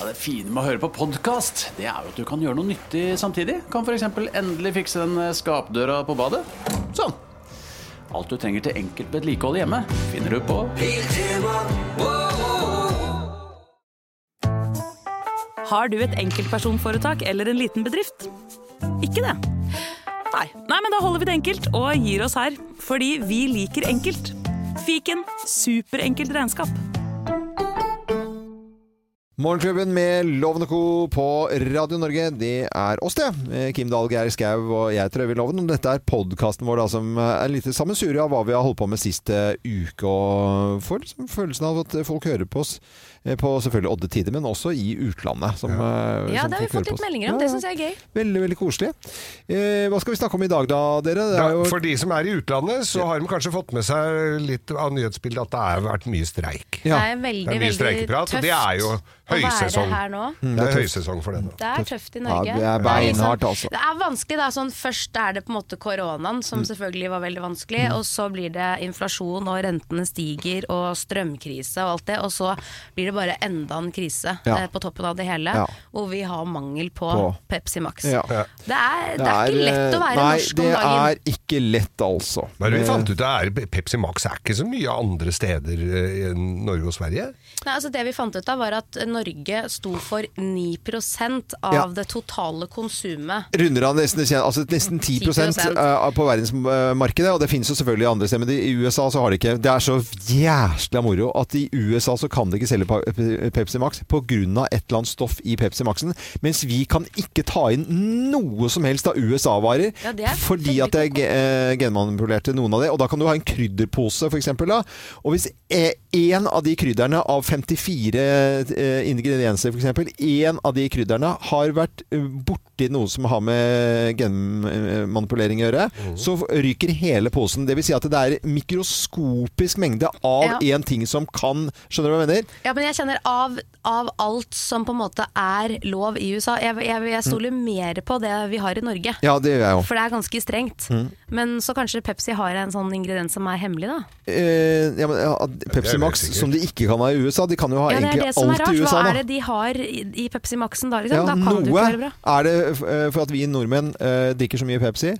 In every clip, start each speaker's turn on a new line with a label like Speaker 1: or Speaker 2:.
Speaker 1: Ja, det fine med å høre på podkast, det er jo at du kan gjøre noe nyttig samtidig. Kan f.eks. endelig fikse den eh, skapdøra på badet. Sånn. Alt du trenger til enkelt vedlikehold hjemme, finner du på
Speaker 2: Har du et enkeltpersonforetak eller en liten bedrift? Ikke det? Nei. Nei, men da holder vi det enkelt og gir oss her. Fordi vi liker enkelt. Fiken superenkelt regnskap.
Speaker 3: Morgenklubben med Loven og Co. på Radio Norge, det er oss, det. Eh, Kim Dahl, Geir Skau og jeg tror Øyvind Loven. Og Dette er podkasten vår da, som er en liten sammensurium av hva vi har holdt på med sist eh, uke. Og får liksom følelsen av at folk hører på oss eh, på selvfølgelig odde tider, men også i utlandet. Som, eh,
Speaker 4: Ja,
Speaker 3: som
Speaker 4: det har
Speaker 3: folk hører
Speaker 4: vi fått
Speaker 3: på
Speaker 4: litt
Speaker 3: oss.
Speaker 4: meldinger om.
Speaker 3: Ja,
Speaker 4: Det syns jeg er gøy.
Speaker 3: Veldig, veldig koselig. Eh, hva skal vi snakke om i dag da, dere? Det
Speaker 5: Ja,
Speaker 3: er jo
Speaker 5: for de som er i utlandet, så har de kanskje fått med seg litt av nyhetsbildet at det har vært mye streik.
Speaker 3: Ja.
Speaker 4: Det er veldig,
Speaker 5: Det er mye
Speaker 4: veldig
Speaker 5: streikeprat,
Speaker 4: tøft
Speaker 5: og det er jo
Speaker 4: å
Speaker 5: høysesong.
Speaker 4: være her nå.
Speaker 5: Mm, Det er høysesong for det nå.
Speaker 4: Det er tøft i
Speaker 3: Mm. Ja,
Speaker 4: Norge.
Speaker 3: det er beinhardt, altså.
Speaker 4: Det er vanskelig da, sånn Først er det på en måte koronaen, som
Speaker 3: Mm.
Speaker 4: selvfølgelig var veldig vanskelig. Og så blir det inflasjon, og rentene stiger, og strømkrise og alt det. Og så blir det bare enda en krise
Speaker 3: Ja.
Speaker 4: eh, på toppen av det hele,
Speaker 3: Ja.
Speaker 4: hvor vi har mangel på,
Speaker 3: På.
Speaker 4: Pepsi Max.
Speaker 3: Ja.
Speaker 4: Det, er, det er ikke lett å
Speaker 3: eh,
Speaker 4: være
Speaker 3: nei,
Speaker 4: norsk om dagen.
Speaker 3: Nei, det er ikke lett, altså.
Speaker 5: Hva er det vi fant ut av? Er Pepsi Max er ikke så mye andre steder eh, enn Norge og Sverige?
Speaker 4: Nei, altså Det vi fant ut av, var at Norge sto for 9 av
Speaker 3: Ja.
Speaker 4: det totale konsumet.
Speaker 3: runder av nesten, altså nesten 10,
Speaker 4: 10%.
Speaker 3: eh, på verdensmarkedet. Og det finnes jo selvfølgelig andre steder, men i USA så har de ikke Det er så jæsla moro at i USA så kan de ikke selge pa- Pe- Pepsi Max pga. et eller annet stoff i Pepsi Maxen. Mens vi kan ikke ta inn noe som helst av USA-varer
Speaker 4: Ja, det er
Speaker 3: fordi
Speaker 4: veldig
Speaker 3: at det er ge- eh, genmanipulerte noen av det. Og da kan du ha en krydderpose, f.eks. Og hvis én av de krydderne av 54 eh, ingredienser, f.eks., én av de krydderne har vært eh, borti noe som har med genmanipulering å gjøre, så ryker hele posen. Dvs. Si at det er mikroskopisk mengde av én
Speaker 4: Ja.
Speaker 3: ting som kan Skjønner du hva jeg mener?
Speaker 4: Ja, men jeg kjenner av, av alt som på en måte er lov i USA Jeg, jeg, jeg stoler mer på det vi har i Norge.
Speaker 3: Mm. Ja, Mm. det gjør jeg òg.
Speaker 4: For det er ganske strengt. Men så kanskje Pepsi har en sånn ingrediens som er hemmelig, da.
Speaker 3: Eh, ja, men, ja,
Speaker 5: det
Speaker 3: Pepsi
Speaker 5: er
Speaker 3: Max,
Speaker 5: helt sikkert.
Speaker 3: som de ikke kan ha i USA, de kan jo ha
Speaker 4: Ja, Det er
Speaker 3: egentlig
Speaker 4: det som er
Speaker 3: alt
Speaker 4: rart.
Speaker 3: i USA.
Speaker 4: Hva
Speaker 3: da.
Speaker 4: er det de har i, i Pepsi Maxen da? Liksom?
Speaker 3: Ja,
Speaker 4: da kan det jo
Speaker 3: noe
Speaker 4: ikke være bra.
Speaker 3: er det f- eh, for at vi nordmenn eh, drikker så mye Pepsi.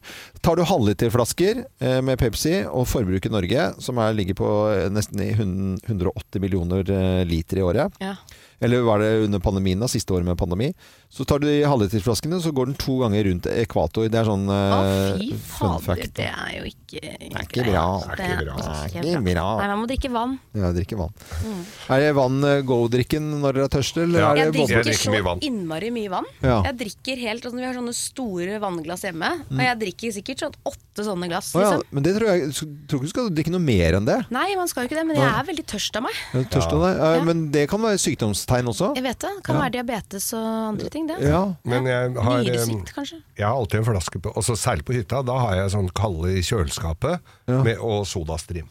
Speaker 3: Tar du halvliterflasker eh, med Pepsi og forbruket i Norge, som er, ligger på eh, nesten i hun- 180 millioner eh, liter i året,
Speaker 4: Ja.
Speaker 3: eller var det under pandemien, da, siste året med pandemi, så tar du de halvliterflaskene, så går den to ganger rundt ekvator. Det er sånn
Speaker 4: Å,
Speaker 3: eh,
Speaker 4: fy
Speaker 3: fun
Speaker 4: fader,
Speaker 3: fact.
Speaker 4: det er jo ikke Det altså
Speaker 5: Det
Speaker 3: ikke bra.
Speaker 5: er ikke bra.
Speaker 3: Det er ikke bra.
Speaker 4: Nei, man må drikke vann.
Speaker 3: Ja, jeg drikker vann.
Speaker 4: Mm.
Speaker 3: Er det vann eh, go-drikken når dere er tørste, eller
Speaker 5: Ja.
Speaker 3: er
Speaker 4: Jeg
Speaker 3: det
Speaker 5: drikker-
Speaker 3: vått?
Speaker 4: drikker
Speaker 5: drikker
Speaker 4: så
Speaker 5: mye vann.
Speaker 4: innmari mye vann.
Speaker 3: Ja. Mm.
Speaker 4: Jeg drikker helt, altså Vi har sånne store vannglass hjemme, og jeg drikker sikkert sånn åtte sånne glass.
Speaker 3: Å ja,
Speaker 4: Liksom.
Speaker 3: men det tror jeg tror ikke du skal drikke noe mer enn det.
Speaker 4: Nei, man skal jo ikke det, men jeg er veldig tørst av meg.
Speaker 3: Er du Tørst av deg? Eh, Men det kan være sykdomstegn også.
Speaker 4: Jeg vet det. Kan være diabetes og andre ting, det.
Speaker 3: Ja.
Speaker 5: Men jeg har eh,
Speaker 4: Nyresvikt, kanskje.
Speaker 5: Jeg har alltid en flaske på, altså særlig på hytta, da har jeg sånn kalde i kjøleskapet med, og sodastream.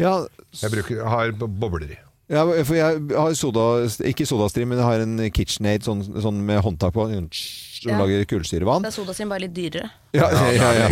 Speaker 3: Ja,
Speaker 5: Jeg bruker, har b- bobler i.
Speaker 3: ja, for jeg har soda, ikke sodastream, men jeg har en KitchenAid sånn, sånn med håndtak på. Sånn, tss,
Speaker 4: Ja.
Speaker 3: og Lager kullsyrevann.
Speaker 4: Da er sodaen bare litt dyrere.
Speaker 3: Ja, ja, ja.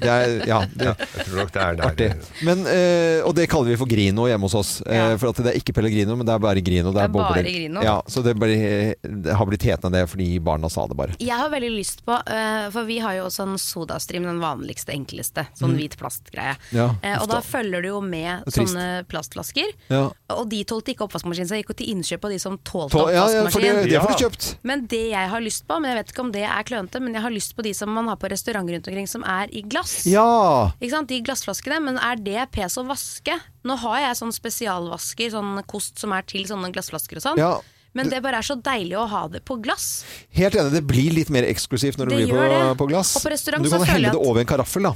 Speaker 3: Det er, ja, det er
Speaker 5: Jeg tror nok det er der.
Speaker 3: artig. Men, eh, og det kaller vi for Grino hjemme hos oss. Eh,
Speaker 4: Ja.
Speaker 3: for at det er ikke Pellegrino, men det er bare Grino. Det er,
Speaker 4: Det er bare
Speaker 3: bobler.
Speaker 4: Grino.
Speaker 3: Ja, så det, blir- det har blitt hetende det fordi barna sa det bare.
Speaker 4: Jeg har veldig lyst på, eh, for vi har jo også en sodastream, den vanligste, enkleste. Sånn hvit plastgreie.
Speaker 3: Mm. Ja,
Speaker 4: Eh, og da følger du jo med
Speaker 3: Det er trist.
Speaker 4: sånne plastflasker.
Speaker 3: Ja.
Speaker 4: Og de tålte ikke oppvaskmaskin, så jeg gikk jo til innkjøp av de som tålte
Speaker 3: Tå- Ja, ja, for
Speaker 4: oppvaskmaskin.
Speaker 3: det, det får du
Speaker 5: Ja.
Speaker 3: kjøpt.
Speaker 4: Men det jeg har lyst på, men jeg vet ikke om det er klønete, men jeg har lyst på de som man har på restauranter rundt omkring som er i glass.
Speaker 3: Ja!
Speaker 4: Ikke sant? De glassflaskene, men er det pes å vaske? Nå har jeg sånn spesialvasker, sånn kost som er til sånne glassflasker og sånn.
Speaker 3: Ja.
Speaker 4: Men det bare er så deilig å ha det på glass.
Speaker 3: Helt enig, det blir litt mer eksklusivt når det,
Speaker 4: Det
Speaker 3: blir på,
Speaker 4: gjør det.
Speaker 3: på glass.
Speaker 4: Og på restaurant
Speaker 3: du
Speaker 4: så
Speaker 3: kan
Speaker 4: føler jeg
Speaker 3: helle det
Speaker 4: at-
Speaker 3: over en karaffel, da.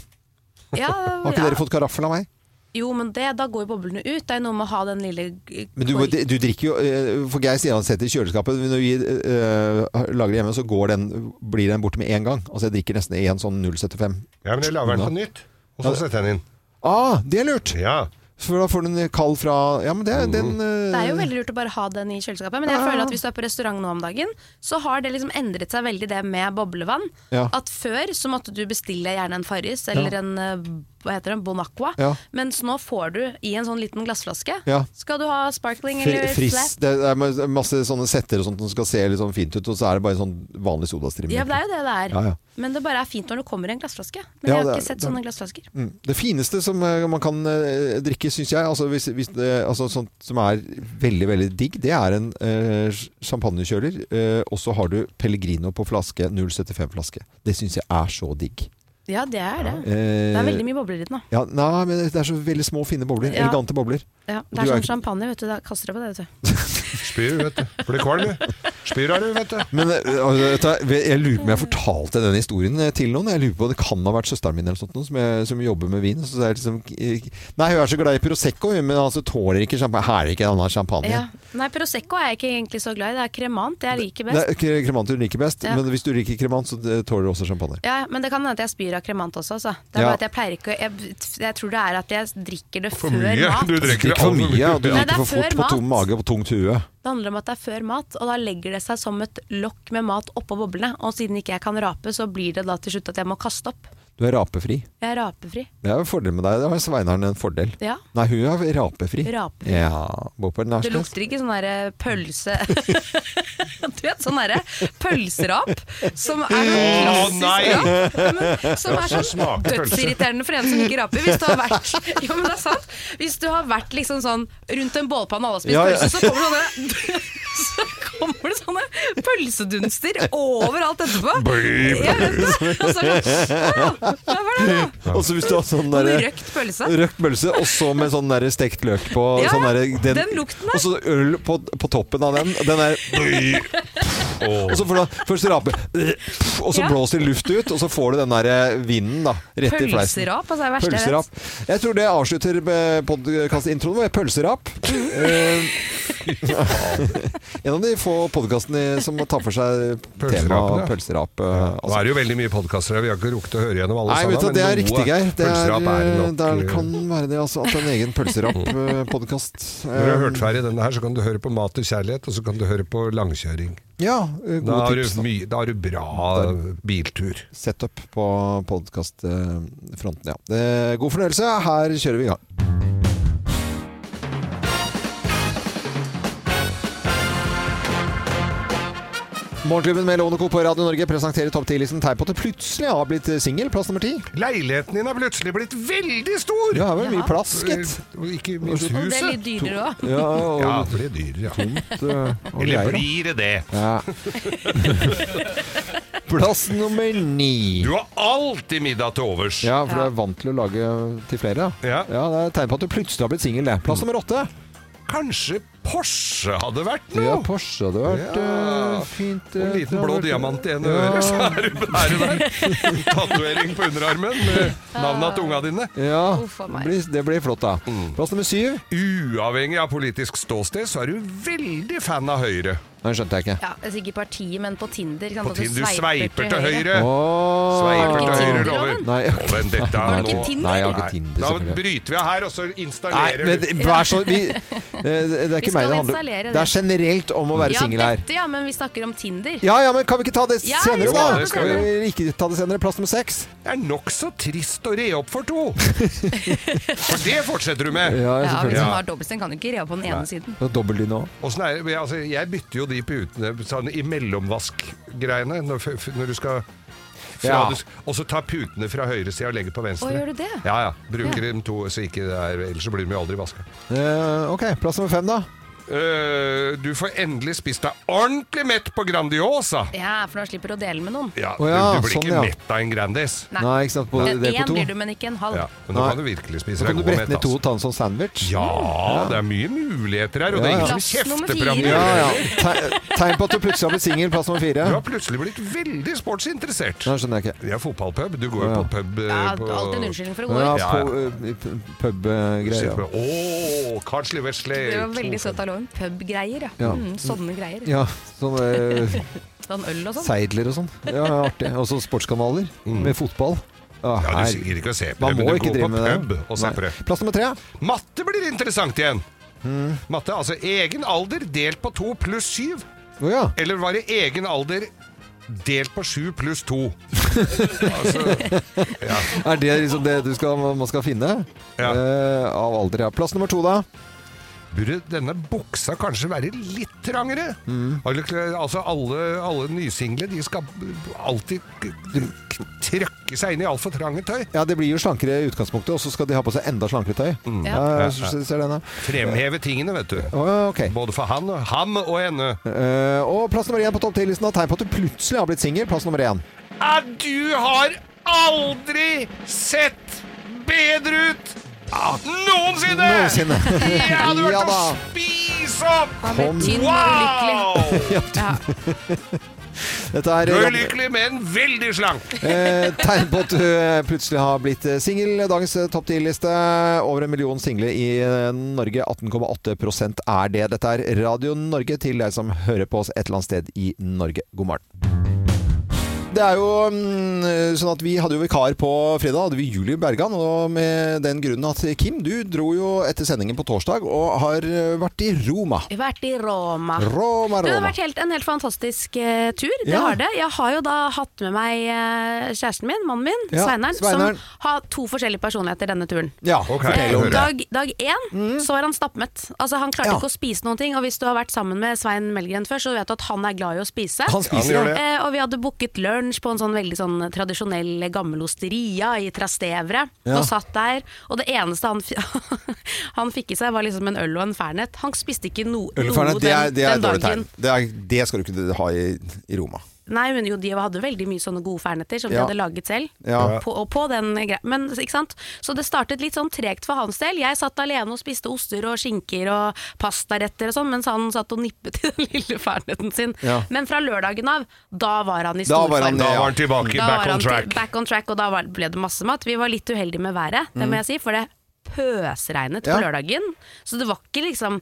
Speaker 4: Ja,
Speaker 3: Har ikke dere fått karaffel av meg?
Speaker 4: Jo, men det, da går jo boblene ut. Det er jo noe med å ha den lille eh,
Speaker 3: Men du,
Speaker 4: kork-
Speaker 3: du drikker jo eh, For Geir sier han setter i kjøleskapet. Når vi eh, lager det hjemme, så går den, blir den borte med en gang. Altså jeg drikker nesten en sånn 0,75.
Speaker 5: Ja, men jeg lager den på nytt, og så setter jeg den inn.
Speaker 3: Ah, det er lurt!
Speaker 5: Ja.
Speaker 3: For da får du en kald fra Ja, men det er den eh,
Speaker 4: Mm. Det er jo veldig lurt å bare ha den i kjøleskapet, men jeg føler at hvis du er på restaurant nå om dagen, så har det liksom endret seg veldig det med boblevann.
Speaker 3: Ja.
Speaker 4: At før så måtte du bestille gjerne en Farris eller en eh, hva heter den, Bonacqua.
Speaker 3: Ja.
Speaker 4: Mens nå får du i en sånn liten glassflaske.
Speaker 3: Ja.
Speaker 4: Skal du ha sparkling
Speaker 3: Fri,
Speaker 4: eller
Speaker 3: friss.
Speaker 4: flat?
Speaker 3: Det er ma- masse sånne setter og sånt som skal se litt sånn fint ut, og så er det bare sånn vanlig sodastream.
Speaker 4: Ja, det er jo det det er.
Speaker 3: Ja, ja.
Speaker 4: Men det bare er fint når det kommer i en glassflaske. Men
Speaker 3: Ja,
Speaker 4: jeg har
Speaker 3: det
Speaker 4: ikke
Speaker 3: er-
Speaker 4: sett
Speaker 3: det er-
Speaker 4: sånne glassflasker.
Speaker 3: Mm. Det fineste som eh, man kan eh, drikke, syns jeg, altså, hvis, hvis, det- altså sånt som er veldig, veldig digg, det er en eh, champagnekjøler, eh, og så har du Pellegrino på flaske, 075-flaske. Det syns jeg er så digg.
Speaker 4: Ja, det er det.
Speaker 3: Eh,
Speaker 4: Det er veldig mye bobler i den. da.
Speaker 3: ja, nei, men det er så veldig små, fine bobler.
Speaker 4: Ja.
Speaker 3: Elegante bobler.
Speaker 4: Ja,
Speaker 3: Og
Speaker 4: det er
Speaker 3: du er
Speaker 4: sånn
Speaker 3: ikke-
Speaker 4: champagne, vet du. Da kaster du på det, vet du.
Speaker 5: Spyr, vet du. Blir kvalm, jeg. Spyr er du, vet du.
Speaker 3: Men eh, altså, vet du, jeg lurer på om jeg fortalte denne historien eh, til noen. Jeg lurer på Det kan ha vært søsteren min eller sånt, noe, som, jeg, som jobber med vin. Så det er liksom, eh, nei, hun er så glad i Prosecco, hun, men altså, tåler ikke champagne. Her er ikke annen champagne.
Speaker 4: Ja. Nei, Prosecco er jeg ikke egentlig så glad i. Det er kremant jeg liker
Speaker 3: Det
Speaker 4: best.
Speaker 3: er kre- kremant du liker best,
Speaker 4: Ja.
Speaker 3: men hvis du liker kremant, så eh, tåler du også champagne.
Speaker 4: Ja, Men det kan hende at jeg spyr av kremant også. Altså. Det er
Speaker 3: Ja.
Speaker 4: bare at jeg pleier ikke jeg, jeg tror det er at jeg drikker det
Speaker 5: For
Speaker 4: før
Speaker 5: mye.
Speaker 4: mat.
Speaker 5: Du drikker
Speaker 3: Drikk for
Speaker 5: altfor
Speaker 3: mye, og du
Speaker 4: Nei, det
Speaker 3: liker
Speaker 4: er
Speaker 3: for fort
Speaker 4: før
Speaker 3: på
Speaker 4: mat.
Speaker 3: tom mage og på tungt hue.
Speaker 4: Det handler om at det er før mat, og da legger det seg som et lokk med mat oppå boblene. Og siden ikke jeg kan rape, så blir det da til slutt at jeg må kaste opp.
Speaker 3: Du er rapefri.
Speaker 4: Jeg er rapefri.
Speaker 3: Det er jo en fordel med deg. Det har Sveinaren en fordel.
Speaker 4: Ja.
Speaker 3: Nei, hun er rapefri.
Speaker 4: Rapefri.
Speaker 3: Ja, bor på
Speaker 4: Det
Speaker 3: Nærsnes.
Speaker 4: lukter ikke sånn derre pølse Du vet, sånn derre pølserap som er sånn klassisk
Speaker 5: nei!
Speaker 4: rap. men Som
Speaker 5: Ja, så
Speaker 4: er sånn
Speaker 5: smaker pølse.
Speaker 4: dødsirriterende for en som ikke raper. Hvis du har vært Jo, men det er sant. Hvis du har vært liksom sånn rundt en bålpanne og alle har spist
Speaker 3: Ja, ja.
Speaker 4: pølse, så kommer det sånne Så kommer det sånne pølsedunster overalt etterpå.
Speaker 5: Bli-
Speaker 4: Ja, vet du. Og så er det sånn «Å, Hva var det, da?
Speaker 3: Og så hvis du har sånn
Speaker 4: Og
Speaker 3: derre
Speaker 4: Røkt pølse.
Speaker 3: Røkt pølse, og så med sånn der stekt løk på.
Speaker 4: Ja,
Speaker 3: sånn der,
Speaker 4: den lukten der.
Speaker 3: Og så øl på, på toppen av den. Den er Og så får du først rape, og så
Speaker 4: Ja.
Speaker 3: blåser luft ut, og så får du den der vinden da, rett i fleisen.
Speaker 4: Pølserap, altså, det er det verste jeg vet.
Speaker 3: Pølserap. Jeg tror det avslutter podkastintroen vår. Pølserap. Eh, en av de få podkastene som tar for seg
Speaker 5: Pølserapen,
Speaker 3: temaet
Speaker 5: ja.
Speaker 3: pølserap. eh,
Speaker 5: Nå
Speaker 3: altså.
Speaker 5: er det jo veldig mye podkaster her, vi har ikke rukket å høre gjennom alle
Speaker 3: Nei, vet du,
Speaker 5: sammen,
Speaker 3: det er
Speaker 5: men
Speaker 3: riktig,
Speaker 5: noe
Speaker 3: Geir. Det er,
Speaker 5: pølserap er
Speaker 3: eh,
Speaker 5: nok,
Speaker 3: der
Speaker 5: eh,
Speaker 3: kan være det, altså. At det er en egen eh, pølserap-podkast.
Speaker 5: Når du har
Speaker 3: eh,
Speaker 5: hørt ferdig denne her, så kan du høre på Mat og kjærlighet, og så kan du høre på langkjøring.
Speaker 3: Ja, eh,
Speaker 5: Da
Speaker 3: gode
Speaker 5: har
Speaker 3: tips.
Speaker 5: du,
Speaker 3: Da.
Speaker 5: mye, da har du bra biltur.
Speaker 3: Setup på podkastfronten, ja. Eh, God fornøyelse. Her kjører vi i gang. Morgenklubben med Lovende Co. på Radio Norge presenterer topp 10-listen tegn på at det plutselig har blitt singel. Plass nummer ti.
Speaker 5: Leiligheten din er plutselig blitt veldig stor!
Speaker 3: Ja, her var det
Speaker 4: Ja.
Speaker 3: mye plass, gitt.
Speaker 5: Og Ikke minst
Speaker 4: Og det er
Speaker 5: huset.
Speaker 4: litt dyrere òg.
Speaker 3: Ja, og
Speaker 5: Ja, det blir dyrere, ja.
Speaker 3: tomt eh, og
Speaker 5: Eller
Speaker 3: greier, da.
Speaker 5: blir det det?
Speaker 3: Ja. Plass nummer ni.
Speaker 5: Du har alltid middag til overs.
Speaker 3: Ja, for du er vant til å lage til flere.
Speaker 5: Ja.
Speaker 3: Det er tegn på at du plutselig har blitt singel. det. Plass nummer åtte.
Speaker 5: Kanskje Porsche hadde vært
Speaker 3: Ja,
Speaker 5: noe?
Speaker 3: Porsche hadde vært
Speaker 5: Ja.
Speaker 3: eh, fint.
Speaker 5: En
Speaker 3: eh,
Speaker 5: liten
Speaker 3: det
Speaker 5: blå
Speaker 3: hadde vært-
Speaker 5: diamant i ene
Speaker 3: Ja.
Speaker 5: øret, så er du er du der. Tatovering på underarmen med navnet til unga dine.
Speaker 3: Ja,
Speaker 4: Uff, a meg.
Speaker 3: det blir- det blir flott, da.
Speaker 5: Mm.
Speaker 3: Plass nummer syv.
Speaker 5: Uavhengig av politisk ståsted, så er du veldig fan av Høyre.
Speaker 3: Den skjønte jeg ikke.
Speaker 4: Ja, altså ikke i partiet, men på Tinder. Ikke sant?
Speaker 5: På
Speaker 4: At
Speaker 5: Tin- du sveiper til høyre.
Speaker 3: Åh.
Speaker 5: Sveiper til
Speaker 4: Har du
Speaker 5: høyre,
Speaker 4: ikke Tinder,
Speaker 5: lover.
Speaker 3: Nei.
Speaker 5: Loven, dette
Speaker 4: Har
Speaker 5: er
Speaker 4: du ikke
Speaker 5: nå
Speaker 4: Tinder?
Speaker 3: Nei, jeg har ikke
Speaker 5: Nei,
Speaker 3: Tinder,
Speaker 5: Da
Speaker 3: selvfølgelig.
Speaker 5: bryter vi her, og så
Speaker 3: Nei, men
Speaker 5: installerer vi
Speaker 3: det- vær så vi, eh, Det er
Speaker 4: Vi
Speaker 3: ikke meg det
Speaker 4: skal
Speaker 3: handler om.
Speaker 4: installere
Speaker 3: Det
Speaker 4: det.
Speaker 3: er generelt om å være
Speaker 4: Ja,
Speaker 3: singel her.
Speaker 4: dette, ja, men vi snakker om Tinder.
Speaker 3: Ja, ja, men kan vi ikke ta det
Speaker 4: Ja,
Speaker 3: senere,
Speaker 4: vi
Speaker 5: skal
Speaker 3: da?
Speaker 5: ta det
Speaker 3: Skal
Speaker 5: senere.
Speaker 3: vi ikke ta det senere? Plass nummer seks.
Speaker 5: Det er nokså trist å re opp for to. For det fortsetter du med.
Speaker 3: Ja,
Speaker 4: Ja, hvis
Speaker 3: selvfølgelig.
Speaker 4: man har dobbeltsteng, kan du ikke re opp på den ene siden.
Speaker 3: Ja. Dobbeldyne òg.
Speaker 5: Åssen er, det- altså, jeg bytter jo de putene sånn, i mellomvask-greiene når, f- f- når du skal fra,
Speaker 3: Ja.
Speaker 5: du s- Og så ta putene fra høyre side og legge på venstre.
Speaker 4: Å, gjør du det?
Speaker 5: Ja, ja. Bruker dem to, så ikke det er, ellers så blir de jo aldri vaska.
Speaker 3: Eh, ok, plass nummer fem, da.
Speaker 5: Eh, du får endelig spist deg ordentlig mett på Grandiosa.
Speaker 4: Ja, for da slipper du å dele med noen.
Speaker 5: Ja,
Speaker 3: Å ja,
Speaker 5: du, du blir
Speaker 3: sånn,
Speaker 5: ikke
Speaker 3: ja.
Speaker 5: mett av en Grandis.
Speaker 3: Nei,
Speaker 4: Nei.
Speaker 3: ikke sant. Både
Speaker 4: En
Speaker 3: det på to.
Speaker 4: blir du, men ikke en halv.
Speaker 5: Ja, men nå
Speaker 3: Nei.
Speaker 5: kan du virkelig
Speaker 3: Så
Speaker 5: spise deg
Speaker 3: kan du
Speaker 5: god
Speaker 3: brette
Speaker 5: mett.
Speaker 3: ned to
Speaker 5: altså.
Speaker 3: og ta en sånn sandwich.
Speaker 5: Ja, det er mye muligheter her, og det er
Speaker 3: Ja, ja.
Speaker 5: ingen som
Speaker 4: Plass nummer
Speaker 5: kjefter på
Speaker 4: fire.
Speaker 3: Ja,
Speaker 5: dem.
Speaker 3: ja. Te- Tegn på at du plutselig har blitt singel. Plass nummer fire.
Speaker 5: Du har plutselig blitt veldig sportsinteressert.
Speaker 3: Nå skjønner jeg ikke.
Speaker 5: Vi er fotballpub. Du går jo
Speaker 3: Ja.
Speaker 5: på pub eh,
Speaker 4: Ja,
Speaker 5: på
Speaker 4: alltid en unnskyldning for å gå
Speaker 3: Ja,
Speaker 5: ja.
Speaker 3: på uh,
Speaker 5: Sitter
Speaker 3: pub-greier.
Speaker 5: med, Åh, Carsley Wesley.
Speaker 4: Det var veldig søtt av loven. Pub-greier, ja.
Speaker 3: Ja.
Speaker 4: Mm, sånne greier.
Speaker 3: Ja, sånne eh,
Speaker 4: Sånn øl og sånn.
Speaker 3: seidler og sånn. Ja, ja, artig. Og så sportskanaler med fotball. Ja,
Speaker 5: Mm. Ja, du
Speaker 3: her-
Speaker 5: sier ikke å se på
Speaker 3: Man
Speaker 5: det,
Speaker 3: må
Speaker 5: men
Speaker 3: ikke
Speaker 5: du
Speaker 3: drive
Speaker 5: går
Speaker 3: med
Speaker 5: på
Speaker 3: det.
Speaker 5: pub og
Speaker 3: Nei.
Speaker 5: zapper.
Speaker 3: Plass nummer tre.
Speaker 5: Matte blir interessant igjen. Matte, altså egen alder delt på to pluss syv.
Speaker 3: Å ja.
Speaker 5: Eller var det egen alder delt på sju pluss to? Altså, ja.
Speaker 3: Er det liksom det du skal, man skal finne?
Speaker 5: Ja.
Speaker 3: Eh, av alder, ja. Plass nummer to, da?
Speaker 5: Burde denne buksa kanskje være litt trangere?
Speaker 3: Mm.
Speaker 5: Alle kle- Altså alle, alle nysingle de skal alltid k- k- trøkke seg inn i altfor trange tøy.
Speaker 3: Ja, det blir jo slankere i utgangspunktet, og så skal de ha på seg enda slankere tøy.
Speaker 5: Mm.
Speaker 3: Ja, jeg ser- ser den, ja.
Speaker 5: Fremheve tingene, vet du.
Speaker 3: Å, ok.
Speaker 5: Både for han, og- ham og henne.
Speaker 3: Eh, og plass nummer én på topp 10-listen har tegn på at du plutselig har blitt singel. Plass nummer én.
Speaker 5: At du har aldri sett bedre ut noensinne!
Speaker 3: Noensinne.
Speaker 5: Jeg hadde vært
Speaker 3: Ja
Speaker 5: å
Speaker 3: da.
Speaker 5: spise opp!
Speaker 4: Han ble
Speaker 3: Kom.
Speaker 4: tynn og ulykkelig.
Speaker 5: Wow!
Speaker 3: Dette
Speaker 5: Du er
Speaker 3: er
Speaker 5: ulykkelig, men veldig slank.
Speaker 3: eh, tegn på at du eh, plutselig har blitt eh, singel. Dagens eh, topp 10-liste. Over en million single i eh, Norge. 18,8 er det. Dette er Radio Norge til deg som hører på oss et eller annet sted i Norge. God morgen. Det er jo mm, sånn at Vi hadde jo vikar på fredag, hadde vi Julie Bergan. Og med den grunnen at eh, Kim, du dro jo etter sendingen på torsdag og har eh, vært i Roma.
Speaker 4: Vi har vært i Roma.
Speaker 3: Roma,
Speaker 4: Det har
Speaker 3: Roma.
Speaker 4: vært helt, en helt fantastisk eh, tur. Det
Speaker 3: Ja.
Speaker 4: har det. Jeg har jo da hatt med meg eh, kjæresten min, mannen min,
Speaker 3: Ja,
Speaker 4: Sveineren,
Speaker 3: Sveineren.
Speaker 4: som har to forskjellige personligheter denne turen.
Speaker 3: Ja,
Speaker 5: Ok.
Speaker 3: fortell om
Speaker 5: Hører.
Speaker 3: det.
Speaker 4: Dag, dag én så var han stappmett. Altså Han
Speaker 3: Mm.
Speaker 4: klarte
Speaker 3: Ja.
Speaker 4: ikke å spise noen ting. Og hvis du har vært sammen med Svein Melgren før, så vet du at han er glad i å spise.
Speaker 3: Han spiser,
Speaker 5: gjør
Speaker 3: ja.
Speaker 5: det.
Speaker 4: Eh, og vi hadde booket lunsj på en sånn veldig sånn tradisjonell gammel osteria i Trastevere.
Speaker 3: Ja.
Speaker 4: Og satt der, og det eneste han, f han fikk i seg, var liksom en øl og en fernet. Han spiste ikke no
Speaker 3: Øl og
Speaker 4: noe
Speaker 3: fernet, det er,
Speaker 4: den,
Speaker 3: det er et
Speaker 4: den
Speaker 3: dårlig
Speaker 4: dagen.
Speaker 3: tegn. Det, er, det skal du ikke ha i, i Roma.
Speaker 4: Nei, men jo, de hadde veldig mye sånne gode fernetter som
Speaker 3: Ja.
Speaker 4: de hadde laget selv.
Speaker 3: Ja.
Speaker 4: På, og på den greia. Men, ikke sant? Så det startet litt sånn tregt for hans del. Jeg satt alene og spiste oster og skinker og pastaretter og sånn, mens han satt og nippet i den lille ferneten sin.
Speaker 3: Ja.
Speaker 4: Men fra lørdagen av, da var han i
Speaker 3: Da
Speaker 4: stor
Speaker 3: var han-
Speaker 4: form.
Speaker 5: Da var han tilbake,
Speaker 4: Da var
Speaker 5: back
Speaker 4: han
Speaker 5: on
Speaker 4: til-
Speaker 5: track.
Speaker 4: Back on track, og da var, ble det masse mat. Vi var litt uheldige med været, det må jeg si, for det pøsregnet
Speaker 3: Mm. Ja.
Speaker 4: på lørdagen. Så det var ikke liksom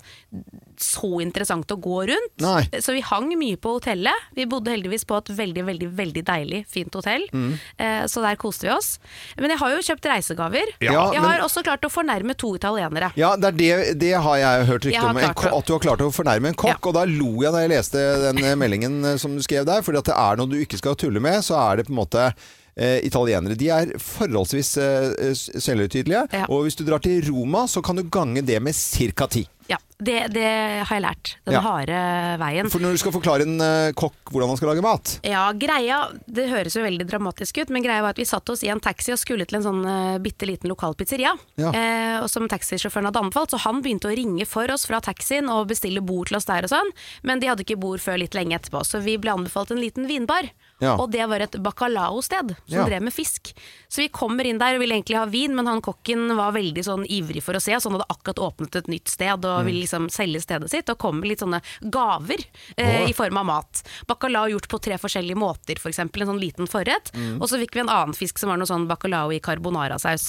Speaker 4: så interessant å gå rundt.
Speaker 3: Nei.
Speaker 4: Så vi hang mye på hotellet. Vi bodde heldigvis på et veldig, veldig veldig deilig, fint hotell.
Speaker 3: Mm.
Speaker 4: Eh, så der koste vi oss. Men jeg har jo kjøpt reisegaver.
Speaker 5: Ja,
Speaker 4: jeg
Speaker 3: men-
Speaker 4: har også klart å fornærme to italienere.
Speaker 3: Ja, det, er det, det har jeg hørt
Speaker 4: Jeg
Speaker 3: rykte
Speaker 4: har
Speaker 3: om. En,
Speaker 4: klart det.
Speaker 3: ko- at du har klart å fornærme en kokk.
Speaker 4: Ja.
Speaker 3: Og da lo jeg da jeg leste den eh, meldingen eh, som du skrev der. Fordi at det er noe du ikke skal tulle med, så er det på en måte eh, italienere. De er forholdsvis eh, eh, selvhøytidelige.
Speaker 4: Ja.
Speaker 3: Og hvis du drar til Roma, så kan du gange det med ca. ti.
Speaker 4: Ja, det, det har jeg lært. Den
Speaker 3: Ja.
Speaker 4: harde veien.
Speaker 3: For når du skal forklare en eh, kokk hvordan han skal lage mat
Speaker 4: Ja, greia, Det høres jo veldig dramatisk ut, men greia var at vi satt oss i en taxi og skulle til en sånn uh, bitte liten lokal pizzeria.
Speaker 3: Ja.
Speaker 4: Eh, og som taxisjåføren hadde anbefalt, så han begynte å ringe for oss fra taxien og bestille bord til oss der og sånn, men de hadde ikke bord før litt lenge etterpå, så vi ble anbefalt en liten vinbar.
Speaker 3: Ja.
Speaker 4: Og det var et bacalao-sted som
Speaker 3: Ja.
Speaker 4: drev med fisk. Så vi kommer inn der og ville egentlig ha vin, men han kokken var veldig sånn ivrig for å se oss. Han hadde akkurat åpnet et nytt sted og ville liksom selge stedet sitt, og kom med litt sånne gaver eh, i form av mat. Bacalao gjort på tre forskjellige måter, f.eks. eksempel en sånn liten forrett. Og så fikk vi en annen fisk som var noe sånn bacalao i carbonara-saus.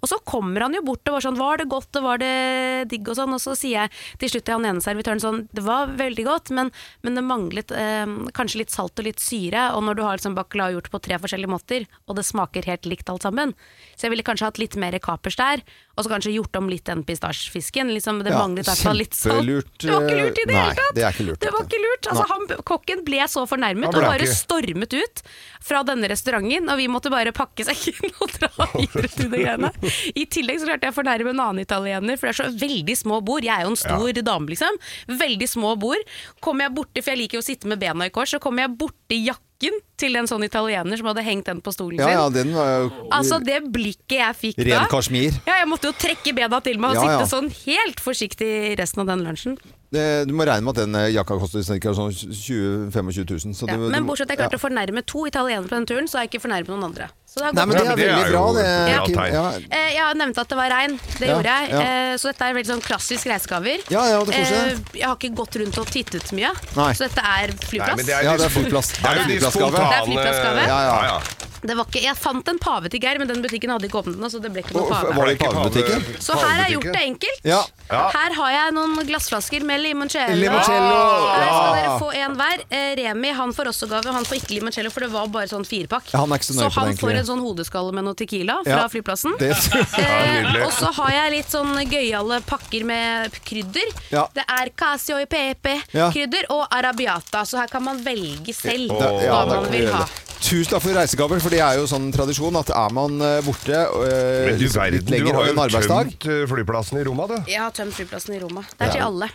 Speaker 4: Og så kommer han jo bort og var sånn 'var det godt', og 'var det digg', og sånn. Og så sier jeg til slutt til han ene servitøren sånn 'det var veldig godt, men, men det manglet eh, kanskje litt salt og litt syre', og når du har liksom bacalao gjort på tre forskjellige måter, og det smaker helt likt alt sammen, så jeg ville kanskje hatt litt mer kapers der, og så kanskje gjort om litt den pistasjefisken. Liksom, det
Speaker 3: Ja,
Speaker 4: manglet i hvert fall litt salt.
Speaker 3: kjempelurt,
Speaker 4: Det var ikke lurt i det
Speaker 3: eh, nei,
Speaker 4: hele tatt!
Speaker 3: det er ikke lurt,
Speaker 4: det var
Speaker 3: dette.
Speaker 4: ikke lurt. Altså, han, kokken ble så fornærmet og
Speaker 5: ble
Speaker 4: bare
Speaker 5: ikke.
Speaker 4: stormet ut fra denne restauranten, og vi måtte bare pakke sekken og dra videre til de greiene. I tillegg så klarte jeg å fornærme en annen italiener, for det er så veldig små bord. Jeg er jo en stor dame, liksom. Veldig små bord. Kommer jeg borti, for jeg liker jo å sitte med bena i kors, så kommer jeg borti jakken til en sånn italiener som hadde hengt den på stolen
Speaker 3: Ja
Speaker 4: sin.
Speaker 3: ja, den var jo
Speaker 4: Altså det blikket jeg fikk Ah, da
Speaker 3: ren kasjmir.
Speaker 4: Ja, jeg måtte jo trekke bena til meg og
Speaker 3: Ja, ja.
Speaker 4: sitte sånn helt forsiktig resten av den lunsjen.
Speaker 3: Det- Du må regne med at den eh, jakka koster cirka sånn 20 25 000. Så
Speaker 4: Ja,
Speaker 3: du,
Speaker 4: men
Speaker 3: du-
Speaker 4: bortsett fra at jeg klarte å fornærme to italienere på den turen, så har jeg ikke fornærmet noen andre. Så det har
Speaker 3: Nei,
Speaker 4: gått
Speaker 3: men det
Speaker 5: Ja,
Speaker 3: er
Speaker 5: men det er
Speaker 3: veldig bra,
Speaker 5: jo
Speaker 3: det.
Speaker 5: et bra
Speaker 3: Kim.
Speaker 5: tegn.
Speaker 3: Ja.
Speaker 4: Eh, Jeg nevnte at det var regn, det
Speaker 3: Ja,
Speaker 4: gjorde jeg.
Speaker 3: ja.
Speaker 4: Eh, Så dette er veldig sånn klassisk reisegaver.
Speaker 3: Ja, ja, det er koselig.
Speaker 4: Eh, Jeg har ikke gått rundt og tittet mye,
Speaker 3: Nei.
Speaker 4: så dette er
Speaker 5: Nei,
Speaker 4: flyplass.
Speaker 5: men det er
Speaker 3: Ja, det er
Speaker 5: litt-
Speaker 3: flyplass.
Speaker 5: Det er jo de
Speaker 3: Flyplassgave.
Speaker 5: spontane
Speaker 4: Det er flyplassgave.
Speaker 3: Ja, ja.
Speaker 4: Det var ikke, jeg fant en pave til Geir, men den butikken hadde ikke åpnet nå, så det ble ikke
Speaker 3: Og-
Speaker 4: noen
Speaker 3: var
Speaker 4: pave.
Speaker 3: det i pavebutikken?
Speaker 4: Så her har jeg gjort det enkelt.
Speaker 3: Ja.
Speaker 5: Ja.
Speaker 4: Her har jeg noen glassflasker med limoncello.
Speaker 3: Limoncello.
Speaker 4: Her
Speaker 5: Ah.
Speaker 4: skal dere
Speaker 3: Ja.
Speaker 4: få en hver. Eh, Remi han får også gave, han får ikke limoncello, for det var bare sånn firepakk.
Speaker 3: Ja, han er ikke så nøye på det,
Speaker 4: han
Speaker 3: egentlig.
Speaker 4: får en sånn hodeskalle med noe tequila fra
Speaker 3: Ja.
Speaker 4: flyplassen.
Speaker 3: Det,
Speaker 5: nydelig.
Speaker 4: Eh, og så har jeg litt sånn gøyale pakker med krydder.
Speaker 3: Ja.
Speaker 4: Det er casio i
Speaker 3: Ja.
Speaker 4: PP-krydder og arabiata, så her kan man velge selv
Speaker 5: Det- ja,
Speaker 4: hva
Speaker 5: det
Speaker 4: man
Speaker 3: kan vi
Speaker 4: vil
Speaker 3: gjøre.
Speaker 4: ha.
Speaker 3: tusenlapp for reisegaver, for det er jo sånn tradisjon at er man eh, borte eh,
Speaker 5: Men du
Speaker 3: liksom
Speaker 5: verden,
Speaker 3: litt
Speaker 5: du
Speaker 3: lenger
Speaker 5: har
Speaker 3: enn en
Speaker 5: jo
Speaker 3: arbeidsdag
Speaker 5: tømt eh, flyplassen i Roma, du.
Speaker 4: Jeg har tømt flyplassen i Roma. Det er til alle.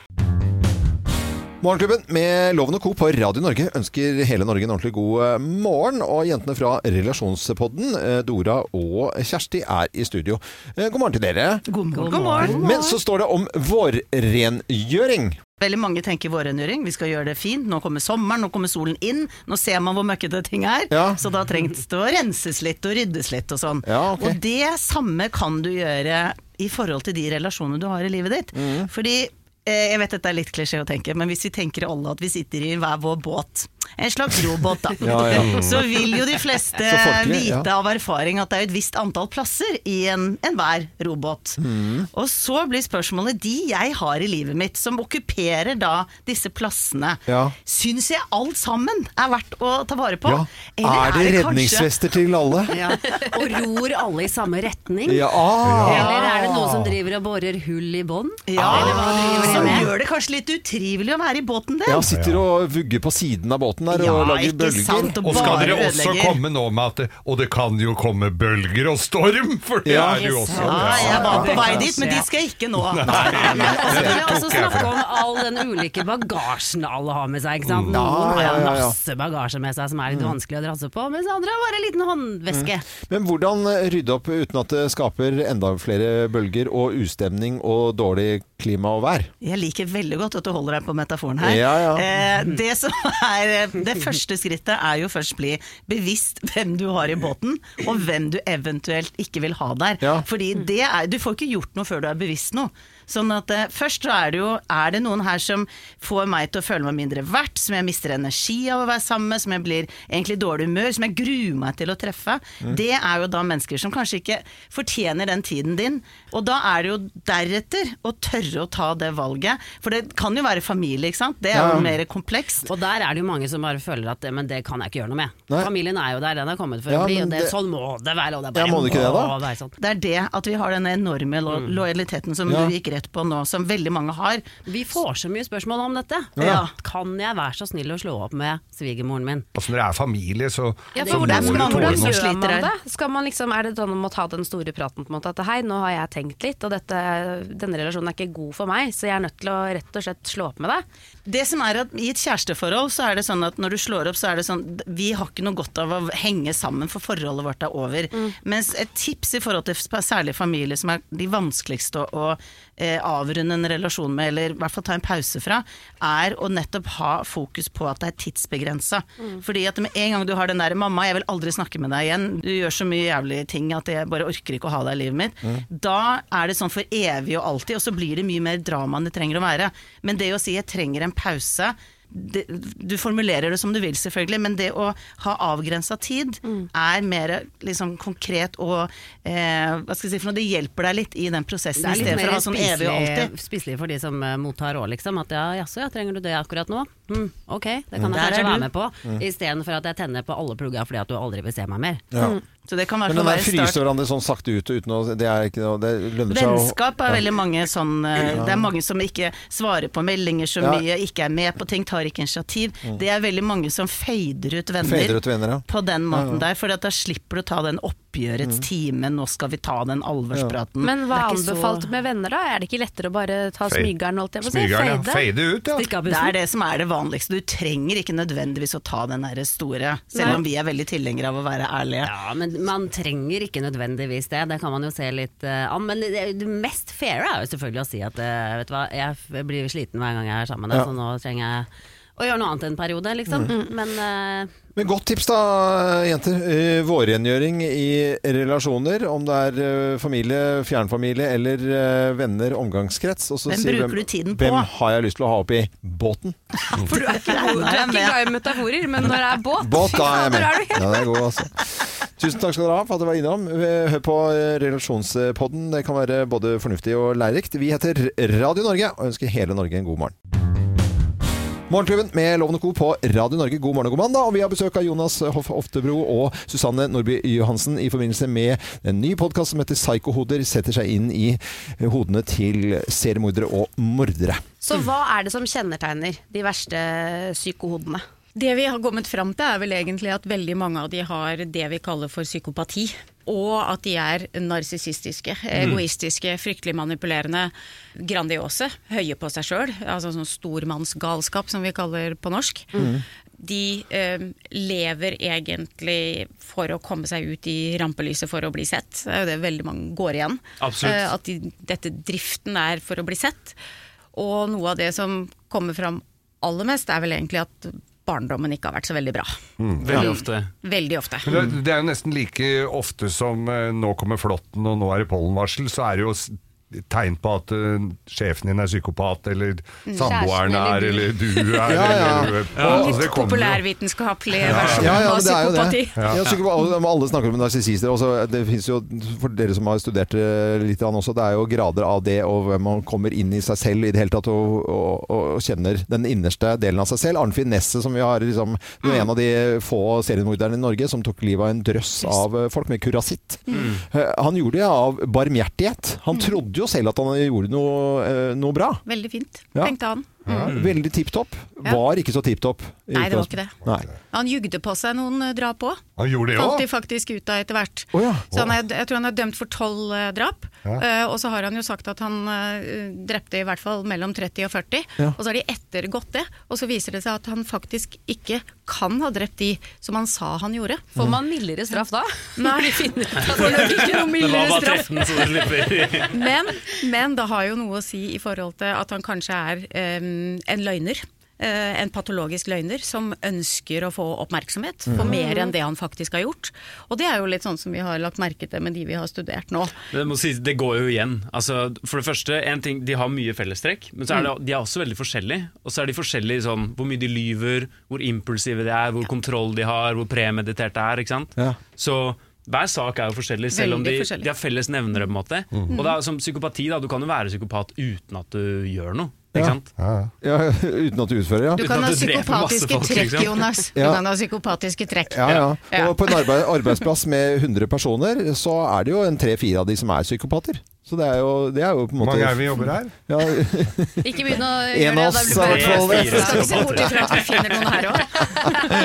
Speaker 3: Morgenklubben med Loven og Co. på Radio Norge ønsker hele Norge en ordentlig god eh, morgen. Og jentene fra Relasjonspodden, eh, Dora og Kjersti, er i studio. Eh, God morgen til dere.
Speaker 6: God morgen.
Speaker 3: Men så står det om vårrengjøring.
Speaker 6: Veldig mange tenker vårrengjøring. Vi skal gjøre det fint. Nå kommer sommeren, nå kommer solen inn. Nå ser man hvor møkkete ting er.
Speaker 3: Ja.
Speaker 6: Så da trengs det å renses litt og ryddes litt og sånn.
Speaker 3: Ja, ok.
Speaker 6: Og det samme kan du gjøre i forhold til de relasjonene du har i livet ditt.
Speaker 3: Mm.
Speaker 6: Fordi eh, jeg vet dette er litt klisjé å tenke, men hvis vi tenker alle at vi sitter i hver vår båt, en slags robåt da,
Speaker 3: Ja, ja.
Speaker 6: så vil jo de fleste
Speaker 3: Så folkelig, ja.
Speaker 6: vite av erfaring at det er et visst antall plasser i en, enhver robåt.
Speaker 3: Mm.
Speaker 6: Og så blir spørsmålet de jeg har i livet mitt, som okkuperer da disse plassene,
Speaker 3: Ja.
Speaker 6: syns jeg alt sammen er verdt å ta vare på?
Speaker 3: Ja.
Speaker 6: Eller
Speaker 3: Er det
Speaker 6: kanskje-
Speaker 3: redningsvester til alle?
Speaker 6: Ja.
Speaker 7: Og ror alle i samme retning?
Speaker 3: Ja. ah.
Speaker 7: Eller er det noen som driver og borer hull i bånn?
Speaker 6: Ja,
Speaker 7: driver
Speaker 6: Som
Speaker 7: med?
Speaker 6: gjør det kanskje litt utrivelig å være i båten din.
Speaker 3: Ah. Ja, sitter og vugger på siden av båten der og
Speaker 6: Ja,
Speaker 3: lager
Speaker 6: ikke
Speaker 3: bølger.
Speaker 6: sant, og
Speaker 5: Og skal
Speaker 6: bare
Speaker 5: dere også
Speaker 6: ødelegger.
Speaker 5: komme nå med at det, Og det kan jo komme bølger og storm, for det
Speaker 3: Ja.
Speaker 5: er det jo også.
Speaker 6: Ja, jeg var på vei dit, men
Speaker 7: Ja.
Speaker 6: de skal jeg ikke nå.
Speaker 7: Og så kan vi også
Speaker 5: tok jeg
Speaker 7: snakke om all den ulike bagasjen alle har med seg. Ikke sant? Noen
Speaker 3: Mm.
Speaker 7: har
Speaker 3: Ja, ja, ja, Mm. ja.
Speaker 7: masse bagasje med seg som er litt vanskelig å drasse på, mens andre har bare en liten håndveske.
Speaker 3: Men hvordan eh, rydde opp uten at det skaper enda flere bølger og ustemning og dårlig klima og vær?
Speaker 6: Jeg liker veldig godt at du holder deg på metaforen her.
Speaker 3: Ja, ja.
Speaker 6: Eh, det, som er, eh, det første skrittet er jo først bli bevisst hvem du har i båten, og hvem du eventuelt ikke vil ha der.
Speaker 3: Ja.
Speaker 6: Fordi det er, du får ikke gjort noe før du er bevisst noe. Sånn at eh, først så er det jo Er det noen her som får meg til å føle meg mindre verdt, som jeg mister energi av å være sammen med, som jeg blir egentlig i dårlig humør, som jeg gruer meg til å treffe? Det er jo da mennesker som kanskje ikke fortjener den tiden din. Og da er det jo deretter å tørre å ta det valget. For det kan jo være familie, ikke sant. Det er jo mer komplekst.
Speaker 7: Og der er det jo mange som bare føler at eh, men det kan jeg ikke gjøre noe med.
Speaker 3: Nei.
Speaker 7: Familien er jo der, den er kommet for
Speaker 3: Ja,
Speaker 7: å bli,
Speaker 3: men
Speaker 7: og det,
Speaker 3: det-
Speaker 7: sånn må det være. Og det
Speaker 3: Ja,
Speaker 7: bare
Speaker 3: må det ikke det da?
Speaker 7: være sånn.
Speaker 6: Det er det at vi har den enorme lo lojaliteten som
Speaker 3: Ja.
Speaker 6: du gikk rett på nå, som veldig mange har.
Speaker 7: Vi får så mye spørsmål om dette.
Speaker 6: Ja.
Speaker 7: Kan jeg være så snill å slå opp med svigermoren min?
Speaker 5: Altså, når det er familie, så,
Speaker 4: Ja,
Speaker 5: så
Speaker 4: for
Speaker 5: må
Speaker 6: det er
Speaker 4: hvordan,
Speaker 5: du
Speaker 6: mange
Speaker 5: tåle
Speaker 6: som
Speaker 4: hvordan
Speaker 5: noe.
Speaker 4: gjør
Speaker 6: sliter
Speaker 4: man
Speaker 6: her.
Speaker 4: det? Skal man liksom, er det sånn om å ta den store praten på en måte at hei, nå har jeg tenkt litt, og dette, denne relasjonen er ikke god for meg, så jeg er nødt til å rett og slett slå opp med deg?
Speaker 6: Det som er at I et kjæresteforhold så er det sånn at når du slår opp, så er det sånn Vi har ikke noe godt av å henge sammen, for forholdet vårt er over. Mens et tips i forhold til sp- særlig familie, som er de vanskeligste å, å eh, avrunde en relasjon med, eller i hvert fall ta en pause fra, er å nettopp ha fokus på at det er tidsbegrensa. Fordi at med en gang du har den der 'mamma, jeg vil aldri snakke med deg igjen', du gjør så mye jævlige ting at jeg bare orker ikke å ha deg i livet mitt, da er det sånn for evig og alltid, og så blir det mye mer drama enn det trenger å være. Men det å si 'jeg trenger en pause' det, du formulerer det som du vil, selvfølgelig, men det å ha avgrensa tid
Speaker 7: Mm.
Speaker 6: er mer liksom, konkret og eh, Hva skal jeg si for noe? Det hjelper deg litt i den prosessen,
Speaker 7: Det er
Speaker 6: i
Speaker 7: litt
Speaker 6: stedet for å
Speaker 7: mer
Speaker 6: ha sånn evig og alltid.
Speaker 7: spiselig, spiselig for de som eh, mottar råd, liksom. At ja, jaså, ja, trenger du det akkurat nå? Hm, ok, det kan jeg
Speaker 6: Mm. Der er
Speaker 7: kanskje
Speaker 6: du. Mm.
Speaker 7: være med på. Istedenfor at jeg tenner på alle plugga fordi at du aldri vil se meg mer.
Speaker 3: Ja.
Speaker 6: Så det kan i hvert
Speaker 3: Men den der
Speaker 6: fall være en
Speaker 3: fryser
Speaker 6: start.
Speaker 3: hverandre sånn sakte ut og uten å Det, er ikke noe, det lønner seg å
Speaker 6: Vennskap er veldig mange sånn eh, Det er mange som ikke svarer på meldinger så
Speaker 3: Ja. Mm.
Speaker 6: mye, ikke er med på ting, tar ikke initiativ. Det er veldig mange som fader ut venner.
Speaker 3: Fader ut venner, ja.
Speaker 6: På den måten der, for da slipper du å ta den oppgjørets time, nå skal vi ta den alvorspraten.
Speaker 4: Men
Speaker 7: Det
Speaker 4: hva er
Speaker 7: er ikke så-
Speaker 4: anbefalt med venner da? Er det ikke lettere å bare ta
Speaker 5: Fade.
Speaker 4: smygeren, holdt jeg på å si?
Speaker 5: Smygeren, ja.
Speaker 4: Fade?
Speaker 5: Fade ut, ja.
Speaker 7: Stikk av
Speaker 6: Det
Speaker 7: bussen.
Speaker 6: er det som er det vanligste. Du trenger ikke nødvendigvis å ta den der store, selv om vi er veldig tilhengere av å være ærlige.
Speaker 7: Ja, men man trenger ikke nødvendigvis det. Det kan man jo se litt eh, an. Men det, det mest fair er jo selvfølgelig å si at eh, vet du hva, jeg f- blir sliten hver gang jeg er sammen med deg,
Speaker 3: Ja.
Speaker 7: så nå trenger jeg å gjøre noe annet en periode, liksom.
Speaker 6: Mm.
Speaker 7: Men eh,
Speaker 3: Men godt tips da, jenter. Eh, Vårrengjøring i relasjoner, om det er eh, familie, fjernfamilie eller eh, venner, omgangskrets. Og så
Speaker 6: Hvem
Speaker 3: si
Speaker 6: bruker du tiden på?
Speaker 3: Hvem har jeg lyst til å ha opp i båten?
Speaker 4: For du er ikke, god- du er ikke glad i metaforer, men når det er båt,
Speaker 3: Båt,
Speaker 4: fy
Speaker 3: da er jeg
Speaker 4: fader,
Speaker 3: med.
Speaker 4: er du
Speaker 3: Ja, den er god, altså. Tusen takk skal dere ha for at dere var innom. Eh, Hør på eh, relasjonspodden. Det kan være både fornuftig og lærerikt. Vi heter Radio Norge og ønsker hele Norge en god morgen. Morgenklubben med Loven og Co. på Radio Norge. God morgen og god mandag. Og vi har besøk av Jonas Hoff Oftebro og Susanne Nordby Johansen i forbindelse med en ny podkast som heter Psykohoder. Setter seg inn i hodene til seriemordere og mordere.
Speaker 4: Så hva er det som kjennetegner de verste psykohodene?
Speaker 8: Det vi har kommet fram til er vel egentlig at veldig mange av de har det vi kaller for psykopati. Og at de er narsissistiske,
Speaker 3: Mm.
Speaker 8: egoistiske, fryktelig manipulerende, grandiose, høye på seg sjøl. Altså sånn stormannsgalskap, som vi kaller på norsk.
Speaker 3: Mm.
Speaker 8: De eh, lever egentlig for å komme seg ut i rampelyset for å bli sett. Det er jo det veldig mange går igjen.
Speaker 9: Absolutt.
Speaker 8: Eh, at de, dette driften er for å bli sett. Og noe av det som kommer fram aller mest, er vel egentlig at barndommen ikke har vært så veldig bra. Mm.
Speaker 9: Veldig ofte.
Speaker 8: Veldig ofte.
Speaker 5: Men det, det er jo nesten like ofte som eh, nå kommer flåtten og nå er det pollenvarsel, så er det jo s- tegn på at eh, sjefen din er psykopat, eller
Speaker 4: Mm.
Speaker 5: samboeren
Speaker 8: Kjæresten
Speaker 5: er, eller
Speaker 8: eller
Speaker 5: du er,
Speaker 3: ja.
Speaker 5: eller
Speaker 8: Litt
Speaker 5: Altså, det kommer jo-
Speaker 8: populærvitenskapelig versjon
Speaker 3: Ja, ja,
Speaker 8: av
Speaker 3: men det er jo
Speaker 8: psykopati.
Speaker 3: det. Ja. psykopat- og alle snakker om narsissister. også. eh, Det finnes jo, for dere som har studert det litt grann også, det er jo grader av det og hvem man kommer inn i seg selv i det hele tatt og, og, og kjenner den innerste delen av seg selv. Arnfinn Nesset, som vi har liksom, det var en av de få seriemorderne i Norge som tok livet av en drøss av eh, folk med kurasitt. Eh, Han gjorde det av barmhjertighet.
Speaker 8: Mm.
Speaker 3: Han trodde jo selv at han gjorde noe, eh, noe bra.
Speaker 8: Veldig fint,
Speaker 3: Ja.
Speaker 8: tenkte han.
Speaker 3: Veldig tipp topp.
Speaker 8: Ja.
Speaker 3: Var ikke så tipp topp.
Speaker 8: Nei, det var ikke det.
Speaker 3: Nei.
Speaker 8: Han jugde på seg noen eh, drap òg.
Speaker 5: Han gjorde det
Speaker 8: Fant de
Speaker 5: òg!
Speaker 8: faktisk ut av etter hvert.
Speaker 3: Å ja.
Speaker 8: Så han er, jeg tror han er dømt for tolv eh, drap. Eh, og så har han jo sagt at han eh, drepte i hvert fall mellom 30 og 40.
Speaker 3: Ja.
Speaker 8: Og så har de ettergått det, og så viser det seg at han faktisk ikke kan ha drept de som han sa han gjorde.
Speaker 4: Får man mildere straff da?
Speaker 8: Nei, for det blir ikke
Speaker 9: Det
Speaker 8: noe
Speaker 9: var
Speaker 8: mildere
Speaker 9: bare
Speaker 8: straff.
Speaker 9: 13, så det slipper.
Speaker 8: Men, men det har jo noe å si i forhold til at han kanskje er em, en løgner. Eh, en patologisk løgner som ønsker å få oppmerksomhet
Speaker 3: Mm.
Speaker 8: for mer enn det han faktisk har gjort. Og det er jo litt sånn som vi har lagt merke til med de vi har studert nå.
Speaker 9: Det, må sies, det går jo igjen. Altså, for det første, en ting, De har mye fellestrekk, men så er det,
Speaker 10: Mm.
Speaker 9: de er også veldig forskjellige. Og så er de forskjellige i sånn, hvor mye de lyver, hvor impulsive de er, hvor kontroll de har, hvor premeditert det er. ikke sant?
Speaker 3: Ja.
Speaker 9: Så hver sak er jo forskjellig, selv om
Speaker 8: Veldig
Speaker 9: de,
Speaker 8: forskjellig.
Speaker 9: de har felles nevnere. på en måte. Og det er som psykopati, da, du kan jo være psykopat uten at du gjør noe.
Speaker 3: Ja.
Speaker 9: ikke sant?
Speaker 3: Ja, uten at du utfører, ja.
Speaker 8: Du
Speaker 9: Uten
Speaker 8: kan
Speaker 9: at
Speaker 8: ha
Speaker 9: du dreper masse
Speaker 8: psykopatiske
Speaker 9: folk,
Speaker 8: trekk,
Speaker 9: liksom.
Speaker 8: Jonas. Du
Speaker 3: Ja.
Speaker 8: kan ha psykopatiske trekk.
Speaker 3: Ja, ja.
Speaker 8: Ja.
Speaker 3: Og på en arbeid, arbeidsplass med 100 personer, så er det jo en tre-fire av de som er psykopater. Så det er jo, det er jo på en
Speaker 5: Hvor
Speaker 3: måte
Speaker 5: mange er vi jobber her?
Speaker 3: Ja,
Speaker 4: Ikke begynn å
Speaker 3: En
Speaker 4: gjøre
Speaker 3: av
Speaker 4: det.
Speaker 3: oss
Speaker 4: da
Speaker 3: er i
Speaker 4: blir det
Speaker 9: Tre,
Speaker 3: hvert fall det.
Speaker 8: Skal vi se
Speaker 9: fire
Speaker 8: bort ifra at vi finner noen her òg?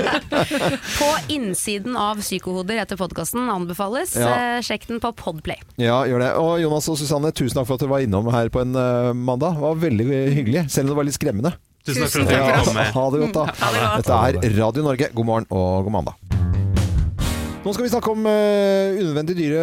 Speaker 4: På innsiden av Psykohoder etter podkasten anbefales.
Speaker 3: Ja.
Speaker 4: Eh, Sjekk den på Podplay.
Speaker 3: ja, gjør det. Og Jonas og Susanne, tusen takk for at dere var innom her på en eh, mandag. Det var veldig hyggelig, selv om det var litt skremmende.
Speaker 9: Tusen takk for at jeg
Speaker 3: Ja,
Speaker 9: fikk komme.
Speaker 3: Ha det godt,
Speaker 4: Mm,
Speaker 3: da. Dette er Radio Norge. God morgen og god mandag. Nå skal vi snakke om eh, unødvendig dyre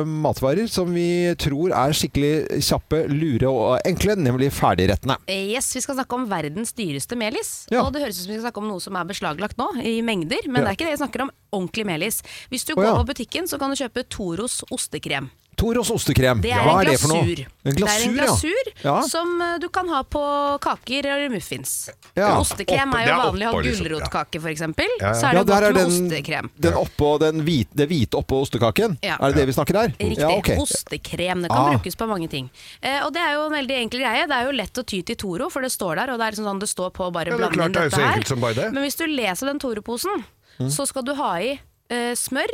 Speaker 3: eh, matvarer som vi tror er skikkelig kjappe, lure og eh, enkle, nemlig ferdigrettene.
Speaker 4: Eh, Yes, Vi skal snakke om verdens dyreste melis.
Speaker 3: Ja.
Speaker 4: Og Det høres ut som vi skal snakke om noe som er beslaglagt nå, i mengder.
Speaker 3: Ja.
Speaker 4: Men det er ikke det vi snakker om. Ordentlig melis. Hvis du
Speaker 3: Å,
Speaker 4: går
Speaker 3: ja.
Speaker 4: på butikken, så kan du kjøpe Toros ostekrem.
Speaker 3: Toros ostekrem.
Speaker 4: Det er
Speaker 3: Hva
Speaker 4: en
Speaker 3: er det for noe?
Speaker 4: glasur.
Speaker 3: En glasur,
Speaker 4: det er en glasur
Speaker 3: ja. ja.
Speaker 4: som eh, du kan ha på kaker eller muffins.
Speaker 3: Ja.
Speaker 4: Ostekrem
Speaker 5: Oppå-
Speaker 4: er
Speaker 5: det
Speaker 4: jo
Speaker 5: er
Speaker 4: vanlig å ha
Speaker 5: oppå, liksom.
Speaker 4: gulrotkake, f.eks. eksempel Så
Speaker 3: Ja,
Speaker 4: er det
Speaker 3: der
Speaker 4: godt
Speaker 3: er
Speaker 4: med
Speaker 3: den-
Speaker 4: ostekrem.
Speaker 3: Den oppå den hvite, det hvite oppå ostekaken?
Speaker 4: Ja.
Speaker 3: Er det det vi snakker her?
Speaker 4: Riktig.
Speaker 3: Ja, ok.
Speaker 4: Ostekrem. Det kan
Speaker 3: Ah.
Speaker 4: brukes på mange ting. Eh, og det er jo en veldig enkel greie. Det er jo lett å ty til Toro, for det står der, og det er liksom sånn det står på å bare
Speaker 5: Ja, det er
Speaker 4: blande
Speaker 5: klart
Speaker 4: inn
Speaker 5: det er
Speaker 4: dette
Speaker 5: så
Speaker 4: her.
Speaker 5: enkelt som bare det.
Speaker 4: Men hvis du leser den Toro-posen, så skal du ha i eh, smør,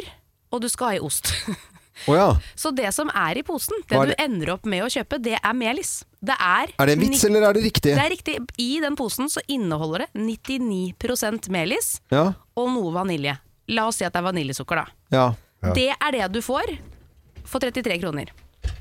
Speaker 4: og du skal ha i ost.
Speaker 3: Å ja.
Speaker 4: så det som er i posen, det
Speaker 3: Hva er
Speaker 4: du
Speaker 3: det?
Speaker 4: ender opp med å kjøpe, det er melis. Det er
Speaker 3: Er det en vits,
Speaker 4: ni-
Speaker 3: eller er det riktig?
Speaker 4: Det er riktig. I den posen så inneholder det 99 melis
Speaker 3: Ja.
Speaker 4: og noe vanilje. La oss si at det er vaniljesukker, da.
Speaker 3: ja.
Speaker 4: Det er det du får for 33 kroner.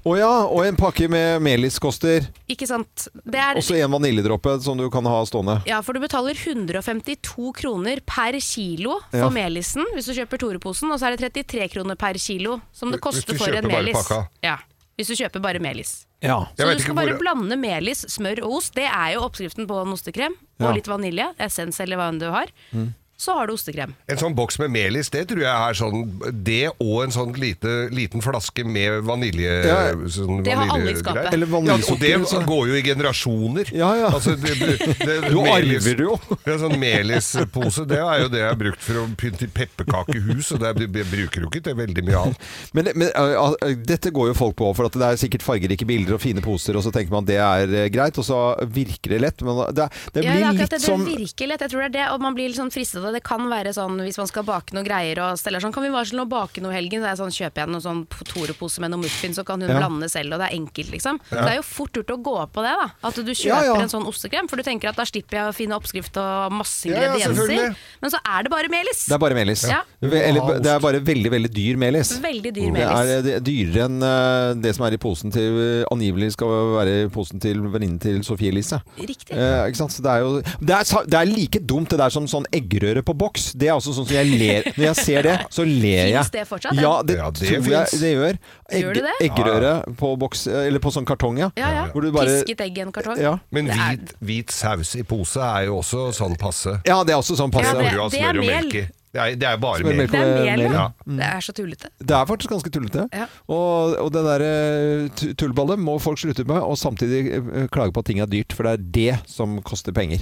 Speaker 3: Å ja, og en pakke med melis koster
Speaker 4: Ikke sant? Det er,
Speaker 3: også en vaniljedråpe som du kan ha stående.
Speaker 4: ja, for du betaler 152 kroner per kilo for
Speaker 3: Ja.
Speaker 4: melisen hvis du kjøper Tore-posen, og så er det 33 kroner per kilo som det
Speaker 5: Hvis du
Speaker 4: koster for
Speaker 5: kjøper
Speaker 4: en
Speaker 5: bare
Speaker 4: melis.
Speaker 5: pakka.
Speaker 4: Ja, hvis du kjøper bare melis.
Speaker 3: Ja.
Speaker 5: Jeg
Speaker 4: Så
Speaker 5: vet
Speaker 4: du skal
Speaker 5: ikke hvor-
Speaker 4: bare blande melis, smør og ost. Det er jo oppskriften på en ostekrem.
Speaker 3: Ja.
Speaker 4: Og litt vanilje, essens eller hva enn du har.
Speaker 5: Mm.
Speaker 4: Så har du ostekrem.
Speaker 5: En sånn boks med melis, det tror jeg er sånn Det og en sånn lite, liten flaske med vanilje...
Speaker 3: Ja.
Speaker 5: sånn
Speaker 4: Det har alle i
Speaker 5: vaniljegreier.
Speaker 4: skapet.
Speaker 3: Eller
Speaker 5: Ja, og det
Speaker 3: vaniljesukker. så-
Speaker 5: går jo i generasjoner.
Speaker 3: Ja, ja.
Speaker 5: Altså, det, det, det,
Speaker 3: Du arver det jo.
Speaker 5: En sånn melispose, det er jo det jeg har brukt for å pynte i pepperkakehus, og det er- jeg bruker jo ikke til veldig mye annet.
Speaker 3: Men, men uh, uh, dette går jo folk på, for at det er sikkert fargerike bilder og fine poser, og så tenker man det er uh, greit, og så virker det lett. Men det, er- det blir
Speaker 4: Ja, det er akkurat
Speaker 3: litt
Speaker 4: det. Det
Speaker 3: som
Speaker 4: virker lett, jeg tror det er det. Og man blir litt sånn fristet til å det. Det kan være sånn hvis man skal bake noen greier og Stella er sånn Kan vi varsle å bake noe i helgen? Så er jeg sånn, kjøper jeg noen sånn Tore-pose med noen muffins, så kan hun
Speaker 3: Ja.
Speaker 4: blande selv, og det er enkelt, liksom. Det er jo fort gjort å gå på det, da. At du kjøper
Speaker 3: Ja, ja.
Speaker 4: en sånn ostekrem, for du tenker at da slipper jeg å finne oppskrift og masse
Speaker 5: Ja, ja,
Speaker 4: ingredienser.
Speaker 5: selvfølgelig.
Speaker 4: Men så er det bare melis.
Speaker 3: Det er bare melis.
Speaker 4: Ja.
Speaker 3: Ve- Eller, det er bare veldig, veldig dyr melis.
Speaker 4: Veldig dyr
Speaker 3: Det
Speaker 4: melis.
Speaker 3: er, det er dyrere enn eh, det som er i posen til eh, Angivelig skal være i posen til venninnen til Sofie Elise.
Speaker 4: Riktig.
Speaker 3: Eh, ikke sant? Så det er jo det er, sa- det er like dumt det der som sånn eggerøre på boks. Det er også sånn som jeg ler Når jeg ser det, så ler jeg.
Speaker 4: Finnes det fortsatt, ja?
Speaker 3: Ja, det,
Speaker 5: Ja, det
Speaker 3: tror
Speaker 5: finnes.
Speaker 3: jeg det gjør.
Speaker 4: Gjør det det?
Speaker 3: Eggerøre på boks, eh, eller på sånn kartong, ja.
Speaker 4: Ja, ja.
Speaker 3: Hvor du bare-
Speaker 4: Pisket egg i en kartong.
Speaker 3: Ja.
Speaker 5: Men
Speaker 4: Det er-
Speaker 5: hvit, hvit saus i pose er jo også sånn passe.
Speaker 3: ja, det er også sånn passe.
Speaker 4: Ja,
Speaker 5: Hvor
Speaker 4: det-
Speaker 5: du har
Speaker 4: er
Speaker 5: smør og
Speaker 4: mel.
Speaker 5: melk i. Det er, det er bare
Speaker 3: Smør
Speaker 5: melk.
Speaker 3: og melk.
Speaker 4: Det er mel, ja.
Speaker 5: Ja.
Speaker 4: Det er så tullete.
Speaker 3: Det er faktisk ganske tullete.
Speaker 4: Ja.
Speaker 3: Og, og det derre tullballet må folk slutte med, og samtidig eh, klage på at ting er dyrt, for det er det som koster penger.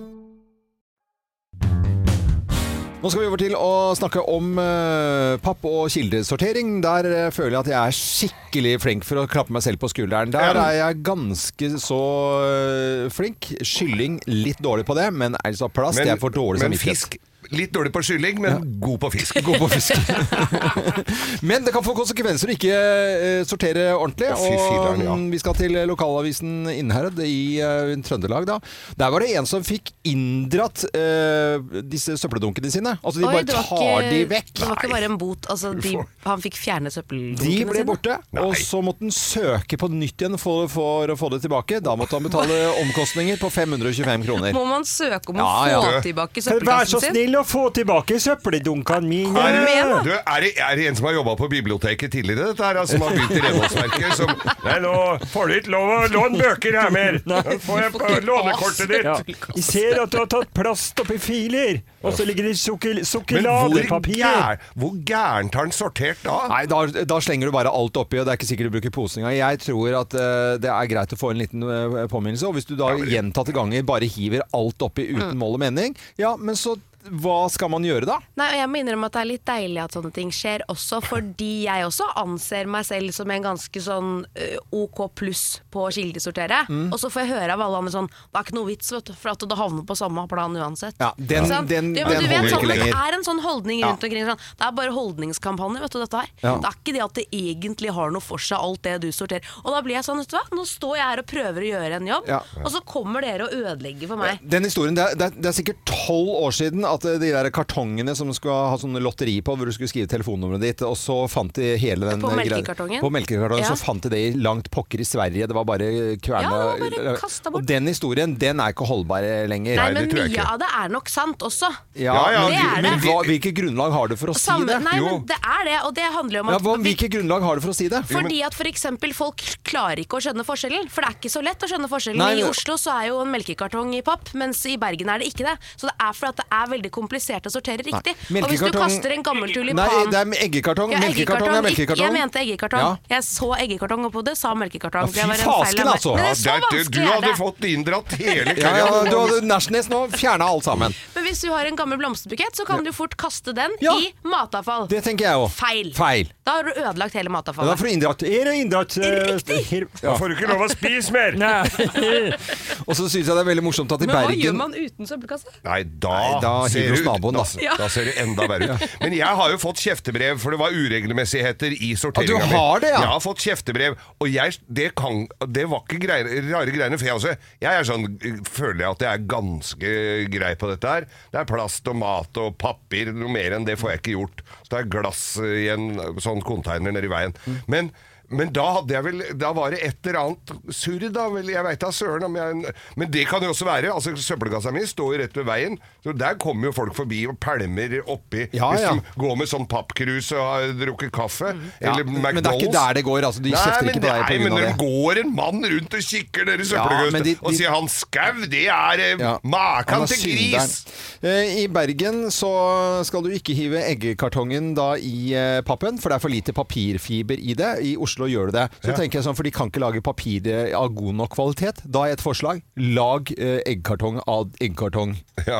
Speaker 3: Nå skal vi over til å snakke om eh, papp- og kildesortering. Der eh, føler jeg at jeg er skikkelig flink for å klappe meg selv på skulderen. Der er jeg ganske så eh, flink. Kylling litt dårlig på det, men altså plast
Speaker 5: Men-
Speaker 3: jeg får dårlig
Speaker 5: men
Speaker 3: samvittighet.
Speaker 5: fisk Litt dårlig på kylling, men god på fisk.
Speaker 3: Gå på fisk. Men det kan få konsekvenser å ikke eh, sortere ordentlig.
Speaker 5: Å, fy
Speaker 3: Og
Speaker 5: filleren, ja.
Speaker 3: mm, vi skal til lokalavisen Innherred i eh, Trøndelag. Da. Der var det en som fikk inndratt eh, disse søppeldunkene sine. Altså de
Speaker 4: Oi,
Speaker 3: bare
Speaker 4: det var
Speaker 3: tar
Speaker 4: ikke-
Speaker 3: de vekk.
Speaker 4: Det var ikke bare en bot. Altså, de, han fikk fjernet
Speaker 3: De
Speaker 4: søppeldunkene
Speaker 3: ble
Speaker 4: sine.
Speaker 3: borte, og
Speaker 5: Nei.
Speaker 3: så måtte han søke på nytt igjen for, for å få det tilbake. Da måtte han betale omkostninger på 525 kroner.
Speaker 4: Må man søke om å
Speaker 3: Ja, ja.
Speaker 4: få tilbake søppelkassen sin?
Speaker 11: å få tilbake søppeldunkene mine!
Speaker 5: Er det,
Speaker 4: med, da?
Speaker 5: du, er, det, er det en som har jobba på biblioteket tidligere, dette her, altså, som har begynt i renholdsverket? Som,
Speaker 11: Nei, nå får du ikke lov å låne bøker her mer! Nå får jeg på lånekortet ditt! Jeg ser at du har tatt plast oppi filer, og så ligger det sukker,
Speaker 5: men hvor,
Speaker 11: sukkerladepapir!
Speaker 5: gær, hvor gærent har den sortert da?
Speaker 3: Nei, da, da slenger du bare alt oppi, og det er ikke sikkert du bruker posen engang. Jeg tror at eh, det er greit å få en liten eh, påminnelse, og hvis du da gjentatte ganger bare hiver alt oppi uten
Speaker 4: Mm.
Speaker 3: mål og mening, ja, men så hva skal man gjøre da?
Speaker 4: Nei, og jeg må innrømme at det er litt deilig at sånne ting skjer også, fordi jeg også anser meg selv som en ganske sånn ø, OK pluss på å kildesortere.
Speaker 3: Mm.
Speaker 4: Og så får jeg høre av alle andre sånn Det er ikke noe vits, vet du, for at det havner på samme plan uansett.
Speaker 3: Ja, den-
Speaker 4: Ikke sant?
Speaker 3: den-
Speaker 4: Ja, men
Speaker 3: den
Speaker 4: du vet,
Speaker 3: holder ikke
Speaker 4: sånn,
Speaker 3: lenger.
Speaker 4: Det er en sånn holdning rundt omkring. Sånn, det er bare holdningskampanje, vet du, dette her.
Speaker 3: Ja.
Speaker 4: Det er ikke det at det egentlig har noe for seg, alt det du sorterer. Og da blir jeg sånn, vet du hva, nå står jeg her og prøver å gjøre en jobb,
Speaker 3: Ja.
Speaker 4: og så kommer dere og ødelegger for meg.
Speaker 3: Den historien, det er, det er, det er sikkert tolv år siden at eh, de der kartongene som skulle ha sånne lotteri på, hvor du skulle skrive telefonnummeret ditt, og så fant de hele den eh,
Speaker 4: På
Speaker 3: greia-
Speaker 4: melkekartongen?
Speaker 3: På melkekartongen,
Speaker 4: Ja.
Speaker 3: så fant de det i langt pokker i Sverige. Det var bare kverna.
Speaker 4: Ja, det var bare kastet bort.
Speaker 3: Og den historien, den er ikke holdbar eh, lenger.
Speaker 4: Nei,
Speaker 5: det
Speaker 4: men
Speaker 5: tror jeg
Speaker 4: mye
Speaker 5: ikke.
Speaker 4: av det er nok sant også.
Speaker 5: Ja, ja,
Speaker 3: men-
Speaker 4: det er det.
Speaker 3: Men hva, hvilket grunnlag har du for å si
Speaker 4: Samme,
Speaker 3: det?
Speaker 4: nei,
Speaker 5: Jo.
Speaker 4: men det er det, og det handler jo om
Speaker 3: Ja,
Speaker 4: at
Speaker 3: hva, hvilket grunnlag har du for å si det?
Speaker 4: fordi at for eksempel folk klarer ikke å skjønne forskjellen, for det er ikke så lett å skjønne forskjellen.
Speaker 3: Nei,
Speaker 4: I
Speaker 3: men-
Speaker 4: Oslo så er jo en melkekartong i papp, mens i Bergen er det ikke det. Så det er fordi at det er veldig komplisert å sortere riktig. Og hvis du
Speaker 3: Melkekartong-
Speaker 4: kaster en gammel tulipan
Speaker 3: Nei, det er eggekartong.
Speaker 4: Ja,
Speaker 3: melkekartong er
Speaker 4: ikke-
Speaker 3: melkekartong.
Speaker 4: Jeg mente eggekartong.
Speaker 3: Ja.
Speaker 4: Jeg så eggekartong oppå det, sa melkekartong.
Speaker 3: Ja,
Speaker 4: for
Speaker 3: fy
Speaker 4: det var en feil av
Speaker 3: fasken,
Speaker 4: meg.
Speaker 3: altså.
Speaker 4: Men det
Speaker 5: Ja,
Speaker 4: er så
Speaker 5: det er- du
Speaker 4: vanskelig er
Speaker 5: hadde
Speaker 4: det.
Speaker 5: fått inndratt hele
Speaker 3: Ja, ja,
Speaker 5: kvelden.
Speaker 3: du hadde Nesjnes nå fjerna alt sammen.
Speaker 4: Men hvis du har en gammel blomsterbukett, så kan du fort kaste den
Speaker 3: Ja.
Speaker 4: i matavfall.
Speaker 3: Det tenker jeg òg.
Speaker 4: Feil.
Speaker 3: Feil.
Speaker 4: Da har du ødelagt
Speaker 3: Ja,
Speaker 4: hele
Speaker 3: da
Speaker 4: matavfallet.
Speaker 3: får du inndratt
Speaker 11: Er det inndratt eh,
Speaker 4: Riktig.
Speaker 11: her-
Speaker 3: Ja.
Speaker 11: Da får du ikke lov å spise mer!
Speaker 3: Og så syns jeg det er veldig morsomt at i
Speaker 4: Men hva gjør
Speaker 3: Bergen
Speaker 4: man uten søppelkasse?
Speaker 5: Nei, da,
Speaker 3: Nei, da
Speaker 5: ser det
Speaker 3: hiver hos
Speaker 5: ut-
Speaker 3: naboen, da.
Speaker 5: da. Da ser det enda verre ut. Men jeg har jo fått kjeftebrev, for det var uregelmessigheter i sorteringa
Speaker 3: Ja, du har det, ja.
Speaker 5: Jeg har fått kjeftebrev, og jeg, det, kan, det var ikke greier, rare greiene. For jeg, altså, jeg er sånn, føler jeg at jeg er ganske grei på dette her. Det er plast og mat og papir, noe mer enn det får jeg ikke gjort. Så det er glass i en sånn container nedi veien. Men men da hadde jeg vel Da var det et eller annet surr, da. Vel, jeg veit da søren om jeg Men det kan jo også være. Altså, Søppelkassa mi står jo rett ved veien, så der kommer jo folk forbi og pælmer oppi.
Speaker 3: Ja,
Speaker 5: hvis
Speaker 3: ja.
Speaker 5: de går med sånn pappkrus og har drukket kaffe.
Speaker 3: Ja,
Speaker 5: Eller
Speaker 3: men
Speaker 5: McDonald's.
Speaker 3: det er ikke der det går, altså, de kjefter ikke på deg på
Speaker 5: Nei, men
Speaker 3: grunn av
Speaker 5: når
Speaker 3: det.
Speaker 5: går en mann rundt og kikker dere
Speaker 3: Ja, men
Speaker 5: søppelkøster
Speaker 3: de-
Speaker 5: og
Speaker 3: de-
Speaker 5: sier 'han skau', det er eh,
Speaker 3: Ja. Han
Speaker 5: makan
Speaker 3: er
Speaker 5: til
Speaker 3: synderen.
Speaker 5: gris!
Speaker 3: Eh, I Bergen så skal du ikke hive eggekartongen da i eh, pappen, for det er for lite papirfiber i det. I Oslo til å gjøre det. Så
Speaker 5: Ja.
Speaker 3: tenker jeg sånn, For de kan ikke lage papir eh, av god nok kvalitet. Da har jeg et forslag. Lag eh, eggkartong av
Speaker 5: Ja.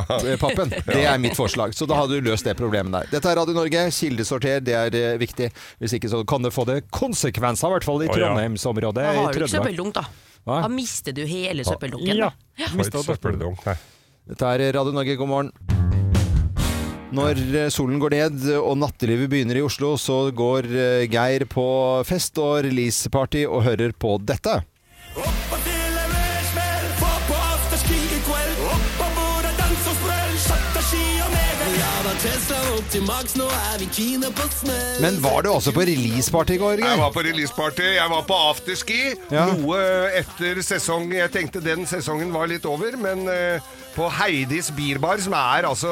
Speaker 3: eggkartongpappen. Det er mitt forslag. Så da har du løst det problemet der. Dette er Radio Norge. Kildesorter, det er eh, viktig. Hvis ikke så kan det få det konsekvenser, i hvert fall
Speaker 11: Å,
Speaker 3: i
Speaker 11: ja.
Speaker 3: Trondheimsområdet.
Speaker 4: Da
Speaker 3: i
Speaker 4: har du ikke
Speaker 3: Trøndelag.
Speaker 4: søppeldunk, da.
Speaker 3: Hva?
Speaker 4: Da mister du hele søppeldunken.
Speaker 11: Ja.
Speaker 4: da.
Speaker 11: Mistet
Speaker 5: For et
Speaker 11: det.
Speaker 5: søppeldunk. Nei.
Speaker 3: Dette er Radio Norge, god morgen. Når eh, solen går ned og nattelivet begynner i Oslo, så går eh, Geir på fest og releaseparty og hører på dette.
Speaker 12: Opp og til en velsmell, få på afterski i kveld. Opp og bord og dans og sprell, ski og nevel. Ja da, Tesla opp til maks, nå er vi kine på smell.
Speaker 3: Men var du også på releaseparty i går,
Speaker 5: Jeg
Speaker 3: Geir?
Speaker 5: var på releaseparty, jeg var på afterski.
Speaker 3: Ja.
Speaker 5: Noe etter sesong Jeg tenkte den sesongen var litt over, men eh, på Heidis Birbar, som er altså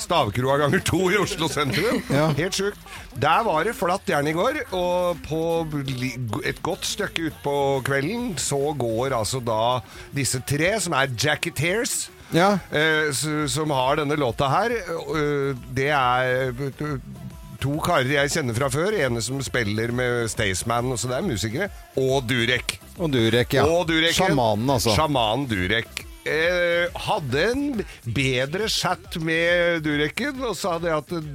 Speaker 5: Stavkroa ganger to i Oslo sentrum,
Speaker 3: Ja.
Speaker 5: helt sjukt, der var det flatt jern i går. Og på li- et godt stykke utpå kvelden så går altså da disse tre, som er Jacketeers
Speaker 3: Ja.
Speaker 5: eh, s- som har denne låta her. eh, det er eh, to karer jeg kjenner fra før. Ene som spiller med Staysman, og så det er musikere. Og Durek.
Speaker 3: Og Durek, ja.
Speaker 5: Og Durek
Speaker 3: Sjamanen, altså.
Speaker 5: Sjamanen Durek. Eh, hadde en bedre chat med Dureken og sa det at eh,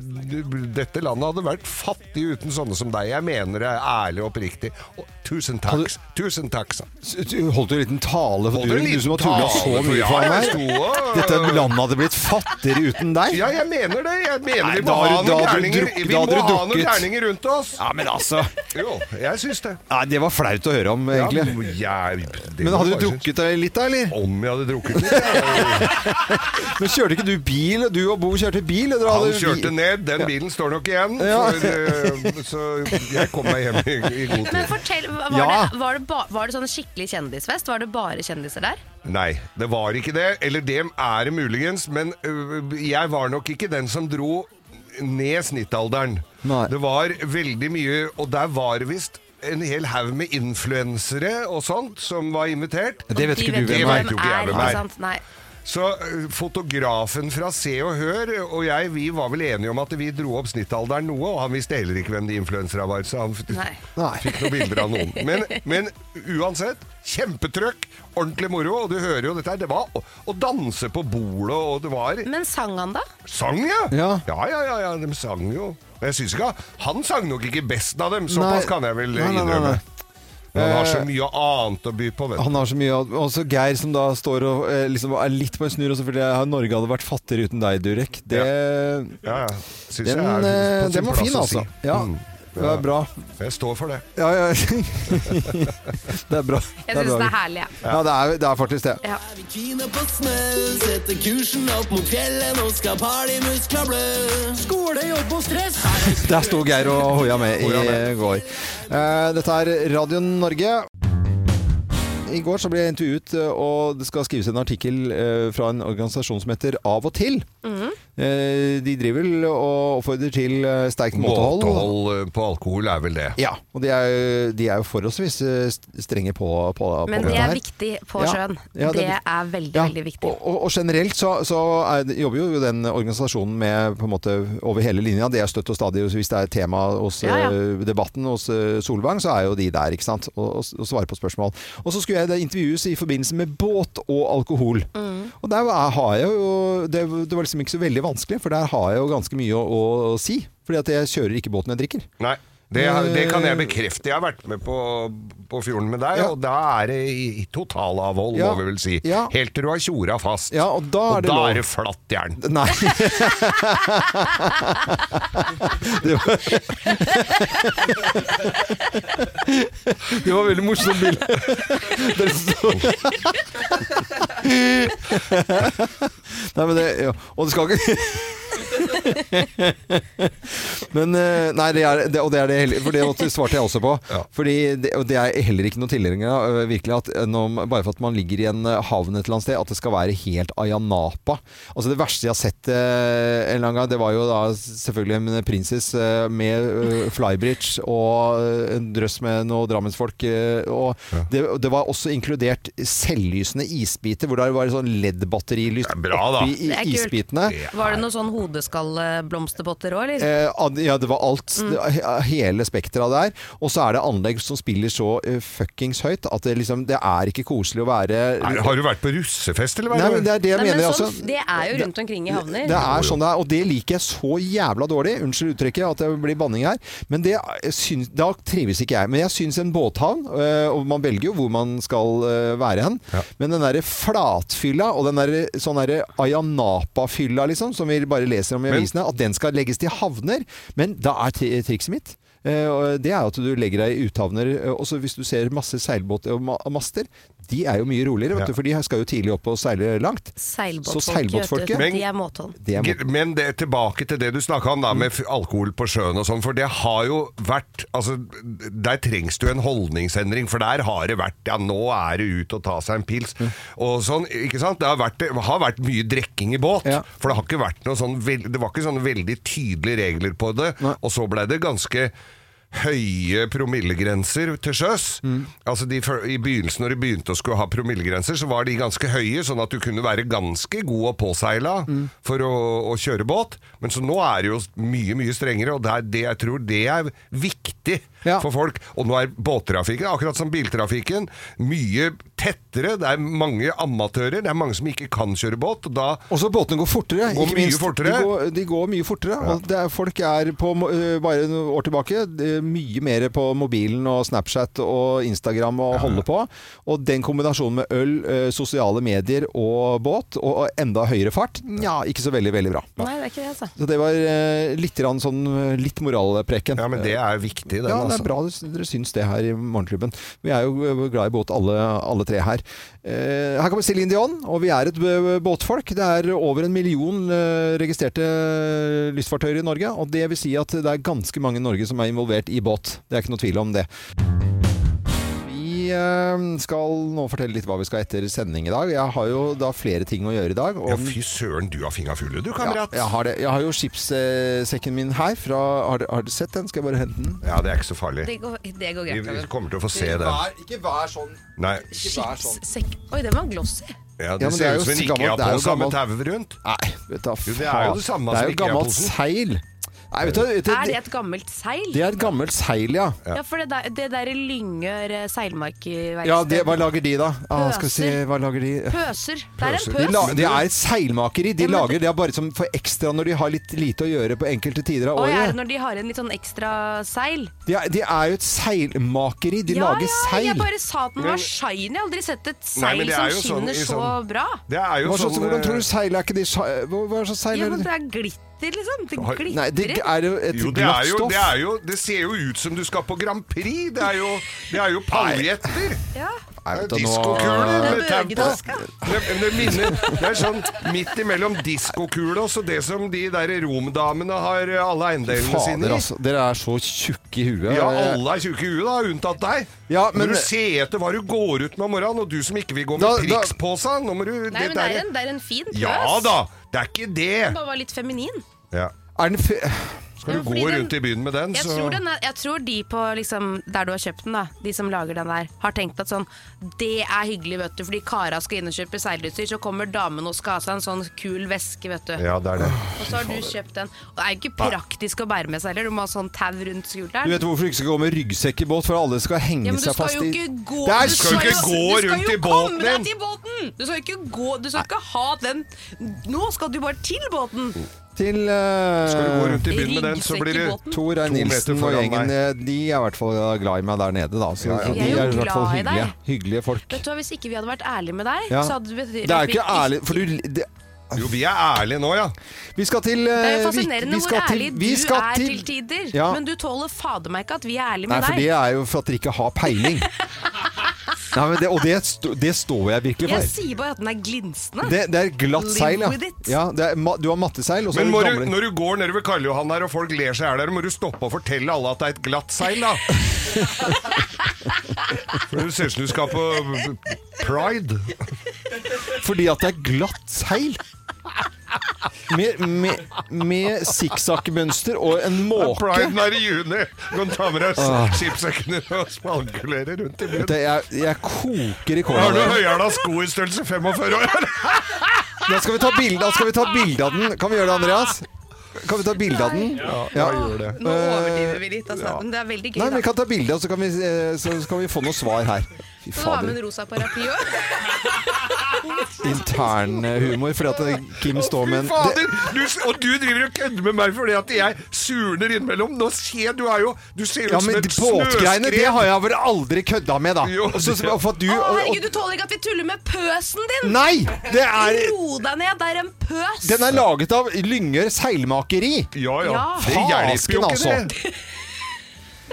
Speaker 5: dette landet hadde vært fattig uten sånne som deg. Jeg mener det ærlig og oppriktig. Og tusen takk. Tusen takk, sa han.
Speaker 3: S- du Holdt du en liten tale for
Speaker 5: Holdt en
Speaker 3: Durek,
Speaker 5: liten
Speaker 3: du som har tulla
Speaker 5: tale
Speaker 3: så
Speaker 5: for-
Speaker 3: mye
Speaker 5: Ja,
Speaker 3: for
Speaker 5: jeg
Speaker 3: meg?
Speaker 5: sto og-
Speaker 3: Dette landet hadde blitt fattigere uten deg?
Speaker 5: Ja, jeg mener det. Jeg mener
Speaker 3: Nei,
Speaker 5: vi
Speaker 3: da
Speaker 5: må
Speaker 3: har du-
Speaker 5: ha
Speaker 3: da
Speaker 5: noen
Speaker 3: har du
Speaker 5: gærninger
Speaker 3: drukket-
Speaker 5: Vi
Speaker 3: da
Speaker 5: må
Speaker 3: har du
Speaker 5: ha noen
Speaker 3: drukket.
Speaker 5: gærninger rundt oss.
Speaker 3: Ja, men altså
Speaker 5: Jo, jeg syns det.
Speaker 3: Nei, Det var flaut å høre om,
Speaker 5: Ja,
Speaker 3: egentlig.
Speaker 5: jeg, det
Speaker 3: Men
Speaker 5: må
Speaker 3: hadde
Speaker 5: jeg
Speaker 3: du
Speaker 5: synes.
Speaker 3: drukket deg litt da, eller?
Speaker 5: Om jeg hadde drukket litt? ja.
Speaker 3: Men kjørte ikke du bil? Du og Bo kjørte bil? eller hadde
Speaker 5: Han
Speaker 3: vi-
Speaker 5: kjørte ned. Den bilen står nok igjen.
Speaker 3: Ja.
Speaker 5: For, eh, så jeg kom meg hjem i, i god
Speaker 4: Men
Speaker 5: tid.
Speaker 4: fortell, var,
Speaker 3: Ja.
Speaker 4: det, var, det ba, var det sånn skikkelig kjendisfest? Var det bare kjendiser der?
Speaker 5: Nei, det var ikke det. Eller det er det muligens. Men øh, jeg var nok ikke den som dro ned snittalderen.
Speaker 3: Nei.
Speaker 5: Det var veldig mye, og der var det visst en hel haug med influensere og sånt som var invitert.
Speaker 3: Det vet
Speaker 4: De
Speaker 3: ikke du hvem
Speaker 5: vet
Speaker 3: er.
Speaker 5: jo ikke jeg hvem
Speaker 4: ikke
Speaker 5: er.
Speaker 4: sant? Nei.
Speaker 5: Så ø, fotografen fra Se og Hør og jeg, vi var vel enige om at vi dro opp snittalderen noe, og han visste heller ikke hvem de influensere var, så han f-
Speaker 4: Nei.
Speaker 3: Nei.
Speaker 5: fikk noen bilder av noen. Men, men uansett, kjempetrøkk, ordentlig moro, og du hører jo dette her, det var å, å danse på bordet, og det var
Speaker 4: Men sang han, da?
Speaker 5: Sang, ja!
Speaker 3: Ja.
Speaker 5: ja, ja, ja, ja, de sang jo. Men jeg synes ikke, han sang nok ikke best av dem, såpass
Speaker 3: Nei.
Speaker 5: kan jeg vel
Speaker 3: Nei, nei, nei,
Speaker 5: innrømme.
Speaker 3: nei.
Speaker 5: Men han har så
Speaker 3: Eh,
Speaker 5: mye annet å by på, vet du.
Speaker 3: Han har så mye av- Også Geir som da står og eh, liksom er litt på en snurr, og selvfølgelig ja, Norge hadde vært fattigere uten deg, Durek. Det,
Speaker 5: Ja, ja. Synes
Speaker 3: den,
Speaker 5: jeg er
Speaker 3: eh,
Speaker 5: på sin
Speaker 3: den var
Speaker 5: plass
Speaker 3: fin,
Speaker 5: å
Speaker 3: altså.
Speaker 5: Si.
Speaker 3: Ja,
Speaker 5: Mm.
Speaker 3: det er bra.
Speaker 5: Jeg står for det.
Speaker 3: Ja, ja. det er bra.
Speaker 4: Jeg
Speaker 3: bra.
Speaker 4: syns den er herlig, jeg.
Speaker 3: Ja, det er, det er faktisk det.
Speaker 4: Ja.
Speaker 12: Er vi kine på smell, setter kursen opp mot fjellet, nå skal partymuskler blø. Skole, jobb og stress.
Speaker 3: Der sto Geir og hoia med i
Speaker 5: Hoia
Speaker 3: går. Eh, Dette er Radio Norge. I går så ble jeg intervjuet, eh, og det skal skrives en artikkel eh, fra en organisasjon som heter Av og til.
Speaker 4: Mhm.
Speaker 3: Eh, De driver vel og oppfordrer til eh, sterkt måtehold.
Speaker 5: Måtehold eh, på alkohol er vel det.
Speaker 3: Ja, og de er, jo- de er jo forholdsvis eh, st- strenge på, på, på
Speaker 4: Men det
Speaker 3: dette
Speaker 4: er
Speaker 3: her.
Speaker 4: viktig på
Speaker 3: Ja.
Speaker 4: sjøen.
Speaker 3: Ja, det
Speaker 4: det,
Speaker 3: er
Speaker 4: er veldig,
Speaker 3: Ja,
Speaker 4: veldig viktig.
Speaker 3: Og, og, og generelt så, så er, det- jobber jo den organisasjonen med på en måte over hele linja. Det er støtt og stadig. Hvis det er tema hos
Speaker 4: Ja, ja.
Speaker 3: eh, debatten hos eh, Solvang, så er jo de der, ikke sant. Og, og, og svarer på spørsmål. Og så skulle jeg da intervjues i forbindelse med båt og alkohol.
Speaker 4: Mm.
Speaker 3: Og der var- har jeg jo det, det var liksom ikke så veldig vanskelig, for der har jeg jo ganske mye å, å si. Fordi at jeg kjører ikke båten jeg drikker.
Speaker 5: Nei, det, det kan jeg bekrefte. Jeg har vært med på, på fjorden med deg,
Speaker 3: Eh. Ja.
Speaker 5: og da er det i, i totalavhold,
Speaker 3: Ja.
Speaker 5: må vi vel si.
Speaker 3: Ja.
Speaker 5: Helt til du har tjora fast.
Speaker 3: Ja, og da
Speaker 5: og
Speaker 3: er det
Speaker 5: da
Speaker 3: lov.
Speaker 5: er det flatt jern.
Speaker 3: Nei. det, var... det var veldig morsomt bilde. Det står- Nei, men det ja. Og det skal ikke Men eh, Nei, det er det, og det er det heller For det svarte jeg også på.
Speaker 5: Ja.
Speaker 3: Fordi det, og det er heller ikke noen tilhenger av eh, virkelig at eh, når, bare for at man ligger i en eh, havn et eller annet sted, at det skal være helt ayanapa. Altså det verste jeg har sett eh, en eller annen gang, det var jo da selvfølgelig en prinsess eh, med eh, flybridge og eh, en drøss med noen drammensfolk. eh, og det, og det var også inkludert selvlysende isbiter, hvor det var sånn LED-batterilys
Speaker 5: Det er bra, da.
Speaker 3: oppi i
Speaker 4: Det er kult.
Speaker 3: isbitene.
Speaker 5: Det er-
Speaker 4: Var det noen sånn hodeskallblomsterpotter òg, eller?
Speaker 3: Eh, ah, ja, det var alt.
Speaker 4: Mm.
Speaker 3: det var he- Hele spekteret der. Og så er det anlegg som spiller så eh, fuckings høyt at det liksom Det er ikke koselig å være
Speaker 5: Er, har du vært på russefest, eller hva?
Speaker 3: Nei, men det er det jeg
Speaker 4: Nei, men
Speaker 3: mener.
Speaker 4: sånn-
Speaker 3: altså.
Speaker 4: Det er jo rundt omkring i havner.
Speaker 3: Det er sånn det er, og det liker jeg så jævla dårlig. Unnskyld uttrykket, at det blir banning her. Men det, syns, da trives ikke jeg. Men jeg syns en båthavn, øh, og man velger jo hvor man skal øh, være hen, men den derre flatfylla og den derre sånn derre Ayanapa-fylla, liksom, som vi bare leser om i
Speaker 5: Men-
Speaker 3: avisene, at den skal legges til havner. Men da er tri- trikset mitt øh, og det er at du legger deg i uthavner. øh, Og så hvis du ser masse seilbåter og ma- master, de er jo mye roligere, vet
Speaker 5: Ja.
Speaker 3: du, for de skal jo tidlig opp og seile langt.
Speaker 4: Seilbåtfolk,
Speaker 3: Så seilbåtfolket-
Speaker 4: vet du, De er måthånd.
Speaker 3: Det er
Speaker 5: Ge- Men det, tilbake til det du snakka om da, med f- alkohol på sjøen og sånn. For det har jo vært altså, Der trengs det jo en holdningsendring, for der har det vært Ja, nå er det ut og ta seg en pils. Og sånn, ikke sant? Det har vært, det har vært mye drikking i båt. For det har ikke vært noe sånn vel- Det var ikke sånne veldig tydelige regler på det. Og så blei det ganske høye promillegrenser til sjøs. Altså de, før- I begynnelsen når de begynte å skulle ha promillegrenser, så var de ganske høye, sånn at du kunne være ganske god og påseila for å, å kjøre båt. Men så nå er det jo mye, mye strengere, og det er det jeg tror det er viktig for folk. Og nå er båttrafikken, akkurat som biltrafikken, mye tettere. Det er mange amatører, det er mange som ikke kan kjøre båt, og da
Speaker 3: Og så båtene går fortere.
Speaker 5: Går
Speaker 3: ikke
Speaker 5: mye
Speaker 3: minst.
Speaker 5: fortere.
Speaker 3: De går, de går mye fortere. Og det er, folk er på, mo- øh, bare noen år tilbake det er mye mer på mobilen og Snapchat og Instagram og holde på. Og den kombinasjonen med øl, øh, sosiale medier og båt, og og enda høyere fart, nja, ikke så veldig, veldig bra.
Speaker 4: Nei, det er ikke det, altså.
Speaker 3: Så det var øh, litt, grann sånn, øh, litt moralpreken.
Speaker 5: Ja, men det er viktig, den,
Speaker 3: ja, det
Speaker 5: altså.
Speaker 3: er bra dere- dere syns det her i Morgenklubben. Vi er jo glad i båt, alle, alle tre her. Eh, her kommer Céline Dion, og vi er et b- båtfolk. Det er over en million eh, registrerte lystfartøyer i Norge, og det vil si at det er ganske mange i Norge som er involvert i båt. Det er ikke noe tvil om det. Vi eh, skal nå fortelle litt hva vi skal etter sending i dag. Jeg har jo da flere ting å gjøre i dag.
Speaker 5: Ja, fy søren, du har fingra fulle, du, kamerat.
Speaker 3: Ja, jeg har det. Jeg har jo skipssekken min her. Fra, har, dere- har dere sett den? Skal jeg bare hente den?
Speaker 5: Ja, det er ikke så farlig.
Speaker 4: Det går, det går
Speaker 5: Vi
Speaker 4: greit.
Speaker 5: vi
Speaker 4: Over.
Speaker 5: kommer til å få se
Speaker 3: Ikke
Speaker 5: den.
Speaker 3: vær- Ikke vær sånn.
Speaker 5: Nei.
Speaker 3: Ikke vær sånn.
Speaker 4: Sekk. Oi, den var glossy.
Speaker 5: Ja,
Speaker 3: Ja,
Speaker 5: det
Speaker 3: men det er
Speaker 5: ser
Speaker 3: jo
Speaker 5: ut som en
Speaker 3: så gammelt-
Speaker 5: ikke har
Speaker 3: det er
Speaker 5: på
Speaker 3: jo
Speaker 5: seg med
Speaker 3: gammelt-
Speaker 5: tau rundt.
Speaker 3: Nei, vet du,
Speaker 5: Jo, det er jo det samme som
Speaker 3: Det er jo
Speaker 5: ikke er
Speaker 3: gammelt
Speaker 5: posen.
Speaker 3: seil. Nei, vet du, vet du,
Speaker 4: Er det
Speaker 3: det,
Speaker 4: et gammelt seil?
Speaker 3: det er et gammelt seil, ja.
Speaker 4: Ja, for det der, det der Lyngør eh, seilmarkverksted
Speaker 3: Ja, det, Hva lager de, da? Ah, skal vi se,
Speaker 4: Pøser.
Speaker 3: hva lager de?
Speaker 4: Pøser. Det er en
Speaker 3: De, la,
Speaker 4: pøs.
Speaker 3: de er et seilmakeri. De
Speaker 4: Ja, men
Speaker 3: lager
Speaker 4: det-
Speaker 3: det er bare som for ekstra når de har litt lite å gjøre på enkelte tider av
Speaker 4: Oi, er det
Speaker 3: året.
Speaker 4: når de har en litt sånn ekstra seil?
Speaker 3: De er, de er jo et seilmakeri. De
Speaker 4: ja,
Speaker 3: lager
Speaker 4: ja, jeg
Speaker 3: seil.
Speaker 4: bare sa at den
Speaker 5: Men-
Speaker 4: var shiny. Jeg har aldri sett et
Speaker 5: Nei,
Speaker 4: seil
Speaker 5: men det er
Speaker 4: som
Speaker 5: jo sånn
Speaker 4: skinner
Speaker 5: i
Speaker 4: så
Speaker 5: sånn-
Speaker 4: bra.
Speaker 5: Det er jo
Speaker 3: Hva slags,
Speaker 5: sånn
Speaker 3: hvordan tror
Speaker 5: eh,
Speaker 3: du seil er ikke de sa- Hva hva slags seil
Speaker 4: Ja,
Speaker 3: er
Speaker 4: men
Speaker 3: det?
Speaker 4: det er glitter, liksom. Det
Speaker 5: Har-
Speaker 4: glitrer.
Speaker 3: Nei, det er jo et
Speaker 5: jo, det, er
Speaker 3: glatt
Speaker 5: jo, det,
Speaker 3: stoff.
Speaker 5: er jo, det ser jo ut som du skal på Grand Prix! Det er jo, det er jo paljetter!
Speaker 4: Ja.
Speaker 3: Nei, vet du, nå-
Speaker 5: Diskokuler med
Speaker 4: Det er
Speaker 5: tau på!
Speaker 4: bøgetaska.
Speaker 5: Det, men det, minner, det er sånn midt imellom diskokula og det som de der romdamene har eh, alle eiendelene sine
Speaker 3: Fader,
Speaker 5: i.
Speaker 3: altså. Dere er så tjukke i huet. Eh,
Speaker 5: Ja, alle er tjukke i huet, da, unntatt deg.
Speaker 3: Ja, men-
Speaker 5: Må du se etter hva du går ut med om morgenen, og du som ikke vil gå med
Speaker 3: Da- da-
Speaker 5: priks på seg. Nå må du
Speaker 4: Nei, men det er
Speaker 5: der-
Speaker 4: en, det er en fin pøs.
Speaker 5: Ja da! Det er ikke
Speaker 4: Den
Speaker 5: det!
Speaker 4: bare var litt feminin.
Speaker 5: Ja.
Speaker 3: Er den fe-
Speaker 5: Skal
Speaker 4: Ja,
Speaker 5: du
Speaker 4: fordi
Speaker 5: gå
Speaker 4: den-
Speaker 5: rundt i byen med den,
Speaker 4: Jeg
Speaker 5: så
Speaker 4: tror, den er, jeg tror de på liksom, der du har kjøpt den, da, de som lager den der, har tenkt at sånn Det er hyggelig, vet du, fordi kara skal inn og kjøpe seilutstyr, så kommer damen og skal ha seg en sånn kul veske, vet du.
Speaker 5: Ja, det er det.
Speaker 4: Og så har du kjøpt den. Og det er jo ikke praktisk å bære med seg heller, du må ha sånn tau rundt
Speaker 3: Du vet
Speaker 4: skulderen.
Speaker 3: hvorfor du ikke skal gå med ryggsekk i båt? For alle skal henge
Speaker 4: Ja, men du
Speaker 3: seg
Speaker 4: skal
Speaker 3: fast
Speaker 4: jo
Speaker 3: i
Speaker 4: ikke gå
Speaker 3: Det er
Speaker 4: du
Speaker 5: skal jo ikke
Speaker 4: jo-
Speaker 5: gå
Speaker 4: du skal
Speaker 5: rundt
Speaker 4: jo
Speaker 5: i båten
Speaker 4: komme
Speaker 5: din.
Speaker 4: deg til båten! Du skal jo ikke gå Du skal ikke ha den Nå skal du bare til båten!
Speaker 3: til eh,
Speaker 5: Skal du gå rundt i byen med den, så
Speaker 4: Ryggsekk i
Speaker 5: blir det
Speaker 4: båten.
Speaker 3: Tor
Speaker 5: To
Speaker 3: Rein
Speaker 5: meter
Speaker 3: Nilsen og
Speaker 5: foran
Speaker 3: gjengen,
Speaker 5: meg.
Speaker 3: eh, de er i hvert fall glad i meg der nede, da. Så, så
Speaker 4: Jeg er
Speaker 3: de er
Speaker 4: jo
Speaker 3: i hvert fall
Speaker 4: glad i
Speaker 3: hyggelige,
Speaker 4: deg.
Speaker 3: hyggelige folk.
Speaker 4: Vet du hva, Hvis ikke vi hadde vært ærlige med deg,
Speaker 3: Ja.
Speaker 4: så hadde vi
Speaker 3: Det er jo ikke ærlig for du, det,
Speaker 5: Jo, vi er ærlige nå, ja.
Speaker 3: Vi skal til
Speaker 4: Det er
Speaker 3: eh,
Speaker 4: jo
Speaker 3: vi-
Speaker 4: fascinerende
Speaker 3: vi
Speaker 4: hvor
Speaker 3: skal til-
Speaker 4: ærlig
Speaker 3: vi
Speaker 4: du
Speaker 3: skal
Speaker 4: er til tider.
Speaker 3: Ja.
Speaker 4: Men du tåler fader meg ikke at vi er ærlige
Speaker 3: Nei,
Speaker 4: med
Speaker 3: for det
Speaker 4: deg.
Speaker 3: er jo for at dere ikke har peiling. Nei, men det, og det, sto- det står jeg virkelig
Speaker 4: Jeg
Speaker 3: for.
Speaker 4: sier bare at den er glinsende.
Speaker 3: Det, det er glatt
Speaker 4: Live
Speaker 3: seil, ja.
Speaker 4: with it.
Speaker 3: ja det er, ma- du har matteseil, og så
Speaker 5: Men
Speaker 3: er
Speaker 5: må
Speaker 3: det
Speaker 5: du,
Speaker 3: gamle
Speaker 5: når du går nede ved Karl Johan her, og folk ler seg i hjel der, må du stoppe og fortelle alle at det er et glatt seil, da. For det ser ut som du skal på pride.
Speaker 3: Fordi at det er glatt seil. Med, med, med sikksakkmønster og en måke.
Speaker 5: Priden er i juni. Du kan ta med deg skipssekken din og smalkulere rundt i
Speaker 3: Vet
Speaker 5: byen.
Speaker 3: du, Jeg, jeg koker i
Speaker 5: Har du
Speaker 3: kåla.
Speaker 5: høyhæla sko i størrelse 45 år?
Speaker 3: Da skal vi ta bilde da skal vi ta bilde av den. Kan vi gjøre det, Andreas? Kan vi ta bilde av den?
Speaker 13: Nei.
Speaker 3: Ja.
Speaker 13: Nå overdriver vi litt, altså.
Speaker 3: Eh, Ja.
Speaker 13: men det er veldig gøy.
Speaker 3: Nei, men
Speaker 13: da.
Speaker 3: vi kan ta bilde, og så kan vi, eh, så kan vi få noe svar her. Fy
Speaker 13: Nå har vi
Speaker 3: fader.
Speaker 13: en rosa paraply òg.
Speaker 3: Internhumor, eh, fordi at Kim står med en
Speaker 5: Fader! Du, og du driver og kødder med meg fordi at jeg surner innimellom. Nå ser du er jo Du ser ut
Speaker 3: Ja,
Speaker 5: som
Speaker 3: men
Speaker 5: et
Speaker 3: båtgreiene, det har jeg vel aldri kødda med, da.
Speaker 5: Jo,
Speaker 3: Og så,
Speaker 5: det-
Speaker 3: for at du,
Speaker 13: Å,
Speaker 3: og, og,
Speaker 13: herregud, du tåler ikke at vi tuller med pøsen din!
Speaker 3: Nei, det er-
Speaker 13: Ro deg ned, det er en pøs!
Speaker 3: den er laget av Lyngør seilmakeri.
Speaker 5: Ja, ja.
Speaker 13: Ja.
Speaker 5: Det hjelper jo
Speaker 3: Fasken,
Speaker 5: ikke,
Speaker 3: altså.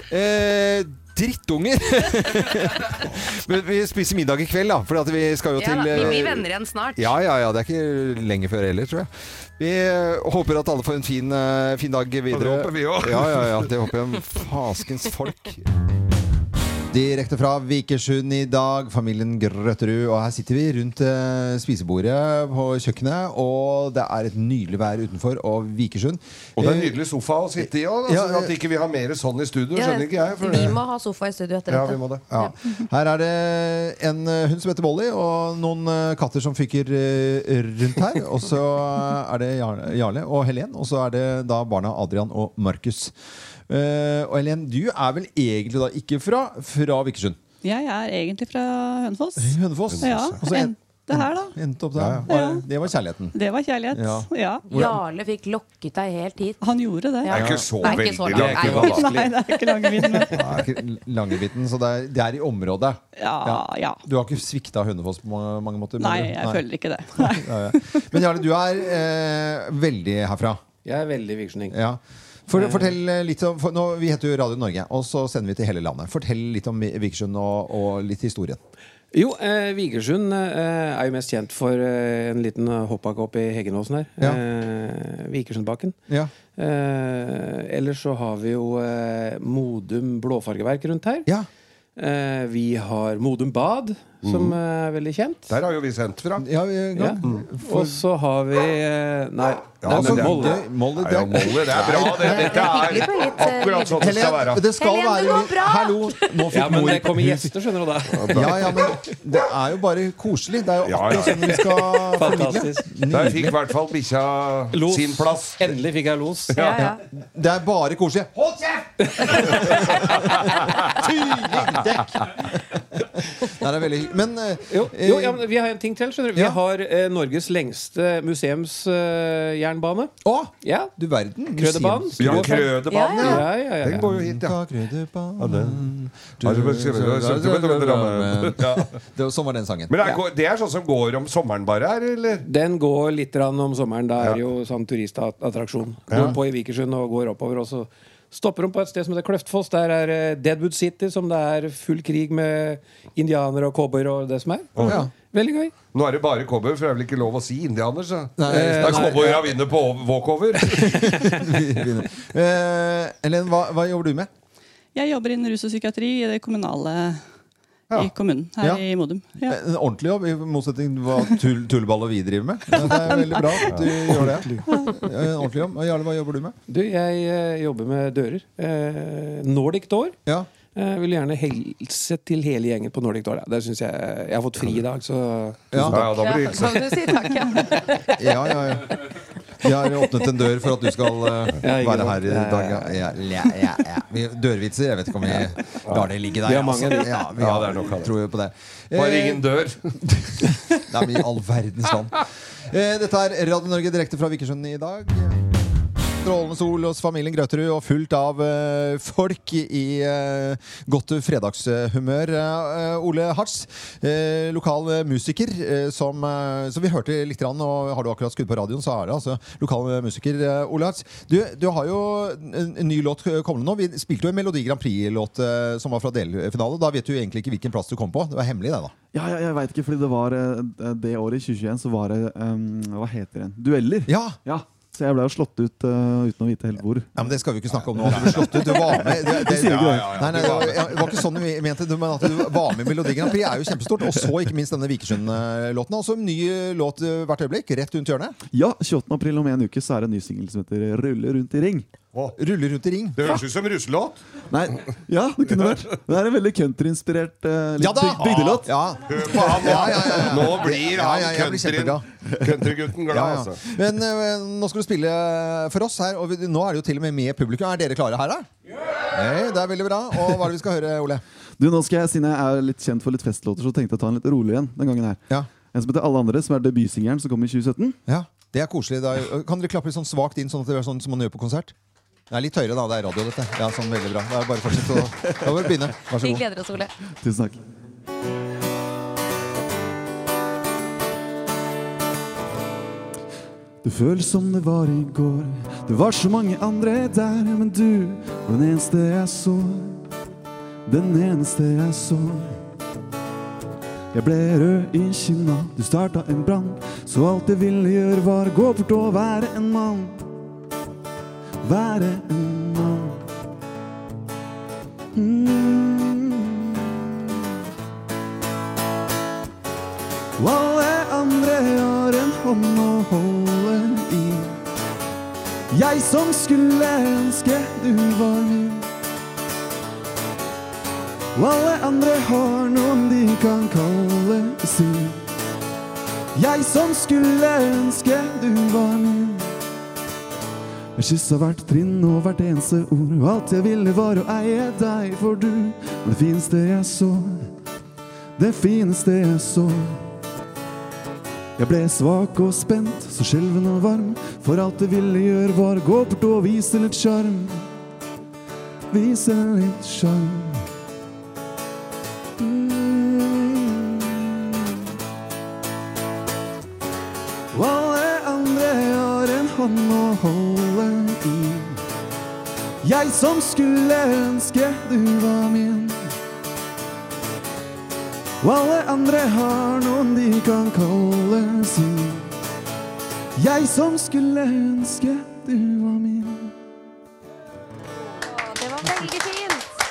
Speaker 5: det.
Speaker 3: Eh, Drittunger. Men vi spiser middag i kveld, da. For at vi skal jo
Speaker 13: Ja, da,
Speaker 3: til
Speaker 13: vi blir
Speaker 3: eh,
Speaker 13: venner igjen snart.
Speaker 3: Ja, ja, ja. Det er ikke lenge før heller, tror jeg. Vi eh, håper at alle får en fin, eh, fin dag videre.
Speaker 5: det håper vi også.
Speaker 3: Ja, ja, ja. Det håper jeg. Faskens folk. Direkte fra Vikersund i dag, familien Grøtterud. Og her sitter vi rundt eh, spisebordet på kjøkkenet, og det er et nydelig vær utenfor. Og Vikersund
Speaker 5: Og det er en
Speaker 3: Eh,
Speaker 5: nydelig sofa å sitte i òg.
Speaker 3: Ja, ja.
Speaker 5: at ikke vi har mer sånn i studio,
Speaker 13: Ja,
Speaker 5: skjønner ikke jeg. For
Speaker 13: vi
Speaker 5: det.
Speaker 13: må ha sofa i studio etter
Speaker 5: Ja,
Speaker 13: dette.
Speaker 5: vi må det.
Speaker 3: Ja. Her er det en eh, hund som heter Molly, og noen eh, katter som fyker eh, rundt her. Og så eh, er det Jar- Jarle og Helen, og så er det da barna Adrian og Markus. Eh, og Helen, du er vel egentlig da ikke fra, fra Vikersund?
Speaker 10: Jeg er egentlig fra Hønefoss.
Speaker 3: Hønefoss.
Speaker 10: Ja,
Speaker 3: Og så en-
Speaker 10: endte her, da.
Speaker 3: Endte opp der.
Speaker 10: Ja.
Speaker 3: Var- Det var kjærligheten.
Speaker 10: Det var kjærlighet.
Speaker 3: Ja.
Speaker 10: Ja.
Speaker 13: Jarle fikk lokket deg helt hit.
Speaker 10: Han gjorde det.
Speaker 13: Ja.
Speaker 5: Det er ikke så
Speaker 13: Det er ikke
Speaker 5: veldig
Speaker 13: så
Speaker 5: langt.
Speaker 13: langt.
Speaker 5: Det er ikke
Speaker 10: Nei, det er ikke langvidden. men-
Speaker 3: Det er ikke Langevitten, så det er, det er i området.
Speaker 10: Ja, ja.
Speaker 3: Du har ikke svikta Hønefoss på mange, mange måter? men
Speaker 10: Nei,
Speaker 3: du-
Speaker 10: jeg føler ikke det. Nei.
Speaker 3: Ja, ja. Men Jarle, du er eh, veldig herfra.
Speaker 14: Jeg er veldig virksomhet. Eh.
Speaker 3: Ja. For, fortell litt om, for nå, Vi heter jo Radio Norge, og så sender vi til hele landet. Fortell litt om Vikersund og, og litt historien.
Speaker 14: Jo, eh, Vigersund eh, er jo mest kjent for eh, en liten hoppakåp i Heggenåsen her.
Speaker 3: Ja.
Speaker 14: Eh, Vikersundbakken.
Speaker 3: Ja.
Speaker 14: Eh, ellers så har vi jo eh, Modum blåfargeverk rundt her.
Speaker 3: Ja.
Speaker 14: Eh, vi har Modum bad, som eh, er veldig kjent.
Speaker 5: Der har jo vi sendt fra.
Speaker 3: Ja, vi-
Speaker 14: Ja. Og så har vi eh, Nei, det
Speaker 3: altså,
Speaker 14: er Molde.
Speaker 3: Molde- Molde,
Speaker 5: Ja, ja, Molly, det er bra. Det, dette er akkurat sånn det skal være.
Speaker 3: Helene, det skal
Speaker 13: Helene, det går
Speaker 3: være
Speaker 13: bra!
Speaker 3: Hallo! Nå
Speaker 14: Ja,
Speaker 3: fikk
Speaker 14: men
Speaker 3: mor
Speaker 14: det kommer gjester, skjønner du da.
Speaker 3: Ja, ja, men det er jo bare koselig. Det er jo
Speaker 5: Ja, ja.
Speaker 3: akkurat sånn vi skal formidle.
Speaker 14: Fantastisk.
Speaker 5: Der fikk i hvert fall bikkja
Speaker 14: Los.
Speaker 5: sin plass.
Speaker 14: Endelig fikk jeg los.
Speaker 13: Ja, ja.
Speaker 3: Det er bare koselig. Hold kjeft! Tydelig dekk! Det er veldig hyggelig. Men eh,
Speaker 14: Jo, jo ja, men vi har en ting til. skjønner du Vi
Speaker 3: Ja.
Speaker 14: har eh, Norges lengste museumsjernbane.
Speaker 3: Å,
Speaker 14: ja.
Speaker 3: du verden.
Speaker 14: Krødebanen.
Speaker 3: Museums-
Speaker 5: Ja,
Speaker 14: Går fra-
Speaker 5: Krødebanen, ja.
Speaker 14: Ja, ja, ja.
Speaker 5: Den går jo hit, ja. altså,
Speaker 3: Ta Krødebanen
Speaker 5: Ja, det var-
Speaker 3: Det var- Sånn var den sangen.
Speaker 5: Men det er, går- det er sånn som går om sommeren bare her, eller?
Speaker 14: Den går litt grann om sommeren. Da er
Speaker 5: Ja.
Speaker 14: det jo sånn turistattraksjon. Går på i Vikersund og går oppover. Og så stopper de på et sted som heter Kløftfoss. Der er eh, Deadwood City, som det er full krig
Speaker 10: Eh,
Speaker 14: med indianere og cowboyer og det som er.
Speaker 3: Ja.
Speaker 14: Veldig gøy.
Speaker 5: Nå er det bare cowboy, for det er vel ikke lov å si indianer, så.
Speaker 3: Nei,
Speaker 5: Det er cowboya vinner på walkover.
Speaker 3: Vi begynner. Eh, Helen, hva, hva jobber du med?
Speaker 10: Jeg jobber innen rus og psykiatri i det kommunale
Speaker 3: Ja.
Speaker 10: i kommunen her
Speaker 3: Ja.
Speaker 10: i Modum. Ja.
Speaker 3: En ordentlig jobb, i motsetning til hva tull, tullball og vi driver med. Det er veldig bra at du gjør det. Eh, En ordentlig jobb. Og Jarle, hva jobber du med?
Speaker 14: Du, jeg eh, jobber med dører. Eh, Nordic Door.
Speaker 3: Ja.
Speaker 14: Jeg vil gjerne helse til hele gjengen på Nordic Door. da. Det synes jeg, jeg har fått fri i dag, så
Speaker 5: Ja,
Speaker 3: Ja.
Speaker 5: ja, da blir det
Speaker 13: Ja,
Speaker 5: hilsen.
Speaker 13: kan du si takk, ja.
Speaker 3: Ja, ja, ja. Vi har åpnet en dør for at du skal eh,
Speaker 14: Ja, ikke
Speaker 3: være
Speaker 14: sant.
Speaker 3: her i
Speaker 14: Ja,
Speaker 3: dag.
Speaker 14: ja,
Speaker 3: Ja, ja, ja, ja, ja. Vi, dørvitser, jeg vet ikke om vi lar det ligge der. altså.
Speaker 14: Vi har mange, vi.
Speaker 3: Ja, vi
Speaker 5: Ja,
Speaker 3: har,
Speaker 5: det er nok av det.
Speaker 3: tror jo på det.
Speaker 5: Bare
Speaker 3: Eh,
Speaker 5: ingen dør.
Speaker 3: Nei, men i all verdens land. Eh, Dette er Radio Norge direkte fra Vikersund i dag. Strålende sol hos familien Grøterud og fullt av eh, folk i eh, godt fredagshumør. Eh, Ole Hartz, eh, lokal eh, musiker, eh, som, eh, som vi hørte litt, grann, og har du akkurat skudd på radioen, så er det altså lokal eh, musiker. Eh, Ole Hartz, du, du har jo en en ny låt eh, kommende nå. Vi spilte jo en Melodi Grand Prix-låt eh, som var fra delfinale. Da vet du egentlig ikke hvilken plass du kom på. Det var hemmelig, det, da.
Speaker 15: Ja, jeg, jeg veit ikke, fordi det var eh, det året i 2021 så var det ehm, Hva heter den? Dueller.
Speaker 3: Ja,
Speaker 15: Så jeg ble jo slått ut eh, uten å vite helt hvor.
Speaker 3: Ja, men Det skal vi ikke snakke om nå. at Du ble slått ut. Du var med. Det, det,
Speaker 15: sier ikke det.
Speaker 3: Nei, nei, det, var, det var ikke sånn vi mente det, men at du var med i Melodi Grand Prix er jo kjempestort. Og så ikke minst denne Vikersund-låten. Og så en ny låt eh, hvert øyeblikk. Rett rundt hjørnet.
Speaker 15: Ja, 28. april om en uke så er det en ny singel som heter 'Rulle rundt i ring'.
Speaker 3: Ruller rundt i ring.
Speaker 5: Det høres ut som russelåt.
Speaker 15: Nei, ja, det kunne vært. Det er en veldig countryinspirert
Speaker 14: eh,
Speaker 15: uh,
Speaker 5: Ja da!
Speaker 15: bygdelåt.
Speaker 5: Hør på han, da.
Speaker 15: Ja, ja, ja, ja.
Speaker 5: Nå blir
Speaker 15: Ja,
Speaker 5: han
Speaker 15: ja, jeg blir
Speaker 5: countryen-
Speaker 15: kjempeglad.
Speaker 5: countrygutten glad,
Speaker 3: Ja, ja.
Speaker 5: altså.
Speaker 3: Men eh, nå skal du spille eh, for oss her, og vi, nå er det jo til og med med publikum. Er dere klare her, da? Hei, det er veldig bra. Og hva er det vi skal høre, Ole?
Speaker 15: Du, nå skal jeg, Siden jeg er litt kjent for litt festlåter, så tenkte jeg å ta en litt rolig en. den gangen her. En som heter Alle andre, som er debutsingelen som kom i 2017.
Speaker 3: Ja, Det er koselig. Da. Kan dere klappe litt sånn svakt inn, sånn at det er sånn som man gjør på konsert? Det er litt høyere, da. Det er radio, dette. Ja, sånn veldig bra. Det er bare å fortsette å Da må du begynne. Vær så
Speaker 13: Vi
Speaker 3: god.
Speaker 13: gleder oss, Ole.
Speaker 15: Tusen takk. Det føles som det var i går. Det var så mange andre der, men du var den eneste jeg så. Den eneste jeg så. Jeg ble rød i kinna, du starta en brann. Så alt jeg ville gjøre, var gå fort og være en mann. Være en mann. Mm. Og alle andre har en hånd å holde i. Jeg som skulle ønske du var min. Og alle andre har noen de kan kalle sin. Jeg som skulle ønske du var min. Jeg kyssa hvert trinn og hvert eneste ord, og alt jeg ville var å eie deg, for du var det fineste jeg så, det fineste jeg så. Jeg ble svak og spent, så skjelven og varm, for alt jeg ville gjøre var å gå bort og vise litt sjarm. Vise litt sjarm. Og alle andre har en hånd å holde i. Jeg som skulle ønske du var min. Og alle andre har noen de kan kalle sin. Jeg som skulle ønske du var min.
Speaker 13: Veldig fint!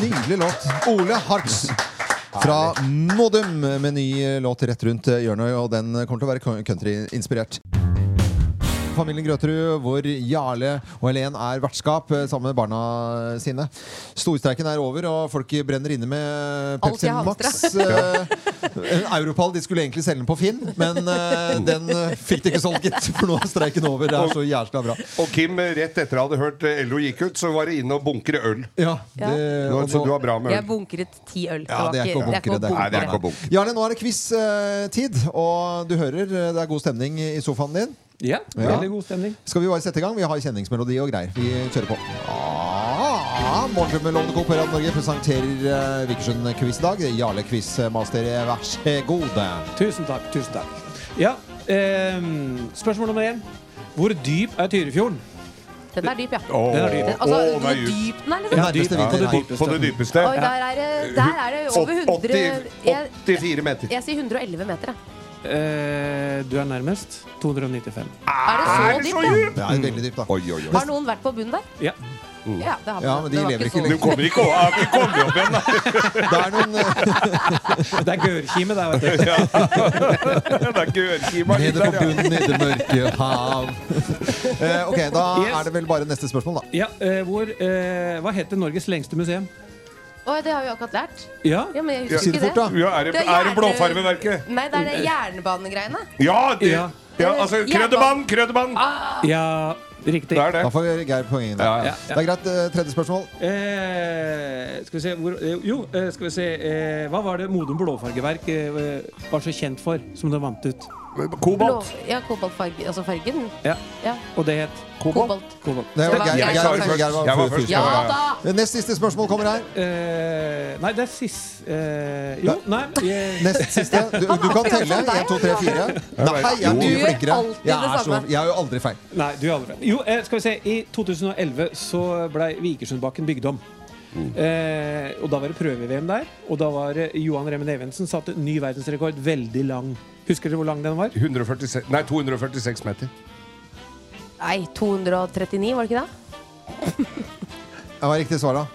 Speaker 3: Nydelig låt. Ole Hartz. Fra Modum med ny låt rett rundt hjørnet, og den kommer til å være countryinspirert. Familien Grøterud, hvor Jarle og Helen er vertskap eh, sammen med barna sine. Storstreiken er over, og folk brenner inne med
Speaker 12: Alt
Speaker 3: Pepsi
Speaker 12: jeg hater,
Speaker 3: Max.
Speaker 12: ja.
Speaker 3: eh, en Europall, de skulle egentlig selge den på Finn, men eh, den eh, fikk de ikke solgt, gitt. For nå er streiken over. Det er så jævla bra.
Speaker 5: Og Kim, rett etter jeg hadde hørt eh, LO gikk ut, så var det inn og bunkre øl.
Speaker 3: Ja,
Speaker 13: Ja.
Speaker 3: det-
Speaker 5: Du har- så du har bra med
Speaker 13: Jeg
Speaker 5: øl.
Speaker 13: bunkret ti øl.
Speaker 3: Ja, det er ikke å
Speaker 13: det er
Speaker 3: bunkre.
Speaker 13: ikke å
Speaker 5: Nei, det er ikke å bunkre.
Speaker 3: Jarle, nå er det quiz-tid, og du hører eh, det er god stemning i sofaen din.
Speaker 14: Ja,
Speaker 3: Ja.
Speaker 14: veldig god stemning.
Speaker 3: Skal vi bare sette i gang? Vi har kjenningsmelodi og greier. Vi kjører på. Ah, Morgenklubben med Lovende Co. på Radio Norge presenterer eh, Vikersund-quiz i dag. Jarle Quiz-master, vær så god.
Speaker 14: Tusen takk. Tusen takk. Ja, ehm, spørsmål nummer én. Hvor dyp er Tyrifjorden?
Speaker 13: Den er dyp, ja.
Speaker 14: Åh, Den er dyp.
Speaker 13: Den, altså,
Speaker 14: åh, den
Speaker 13: den
Speaker 14: er
Speaker 13: er
Speaker 14: dyp.
Speaker 13: dyp den er, liksom.
Speaker 5: Ja, dyp,
Speaker 14: På det
Speaker 5: ja.
Speaker 14: dypeste.
Speaker 5: På det dypeste.
Speaker 13: Oi, der er det- der er det over 100 jeg-
Speaker 5: 84 meter.
Speaker 13: Jeg sier 111 meter, jeg.
Speaker 14: Eh, du er nærmest. 295.
Speaker 13: Er det så dypt,
Speaker 3: ja? veldig dypt, da.
Speaker 5: Oi, oi, oi.
Speaker 13: Har noen vært på bunnen der?
Speaker 14: Ja.
Speaker 13: Ja, det har
Speaker 14: Ja,
Speaker 13: man.
Speaker 14: men de
Speaker 13: Det var ikke
Speaker 14: lever ikke
Speaker 13: så-
Speaker 14: lenger. Du kommer ikke over- du kommer opp igjen,
Speaker 3: Det er noen eh,
Speaker 14: Det er Gørkime, det, vet du.
Speaker 5: Det er ikke ørkima.
Speaker 3: Nede på bunnen i det mørke hav. Eh, ok, da
Speaker 14: Yes.
Speaker 3: er det vel bare neste spørsmål, da.
Speaker 14: Ja, eh, hvor, eh, hva heter Norges lengste museum?
Speaker 13: Å, det har vi akkurat lært.
Speaker 14: Ja,
Speaker 13: Ja, men jeg husker
Speaker 14: Si det
Speaker 13: ikke
Speaker 14: fort, da. Ja, er det- er det
Speaker 13: jerne-
Speaker 14: blåfarveverket?
Speaker 13: Nei, det er det jernbanegreiene.
Speaker 5: Ja, det,
Speaker 14: Ja.
Speaker 5: ja. altså Krøddemann, Krøddemann!
Speaker 14: Ja, riktig.
Speaker 3: Da får Geir poengene.
Speaker 14: Ja, ja.
Speaker 3: Det er greit. eh, Tredje spørsmål.
Speaker 14: Eh, skal vi se hvor, eh, Jo, eh, skal vi se eh, Hva var det Modum Blåfargeverk eh, var så kjent for, som det vant ut?
Speaker 13: Blå, ja, kobaltfarge, altså fargen.
Speaker 14: Ja.
Speaker 13: Ja.
Speaker 14: Og det het
Speaker 13: Kobolt.
Speaker 14: Kobolt.
Speaker 3: Det var
Speaker 13: Geir- Jeg Geir var var først. først. Geir var Jeg var først. først. Ja
Speaker 3: da! Nest siste spørsmål kommer her.
Speaker 14: Eh, nei, det er sist eh, Jo, nei jeg,
Speaker 3: Nest siste. Du, du kan telle. 1, 2, 3, 4. Nei, jeg er mye flinkere. Jeg er, så, jeg er jo aldri feil.
Speaker 14: Nei, du er aldri Jo, eh, skal vi se. I 2011 så ble Vikersundbakken bygd om. Eh, og da var det prøve-VM der. Og da var det Johan Remmen Evensen satte ny verdensrekord. Veldig lang. Husker dere hvor lang den var?
Speaker 5: 146, nei, 246 meter.
Speaker 13: Nei, 239, var det ikke det?
Speaker 3: Ja, Hva er riktig svar, da?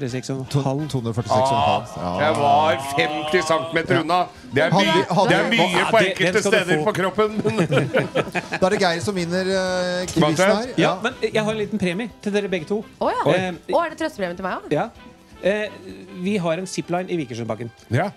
Speaker 14: 246,5.
Speaker 3: 246,5.
Speaker 14: Ah.
Speaker 3: Ja.
Speaker 5: Jeg var 50 cm unna. Det er mye,
Speaker 3: Ah. Hadde-
Speaker 5: det er mye
Speaker 3: hadde-
Speaker 5: på
Speaker 3: det- den
Speaker 5: enkelte
Speaker 3: skal du
Speaker 5: steder
Speaker 3: få.
Speaker 5: på kroppen.
Speaker 3: Da er det Geir som vinner uh, quizen her.
Speaker 14: Ja, men jeg har en liten premie til dere begge to.
Speaker 13: Å ja.
Speaker 14: Eh,
Speaker 13: Å, er det trøstepremien til meg òg?
Speaker 14: Ja. Eh, vi har en zipline i Vikersundbakken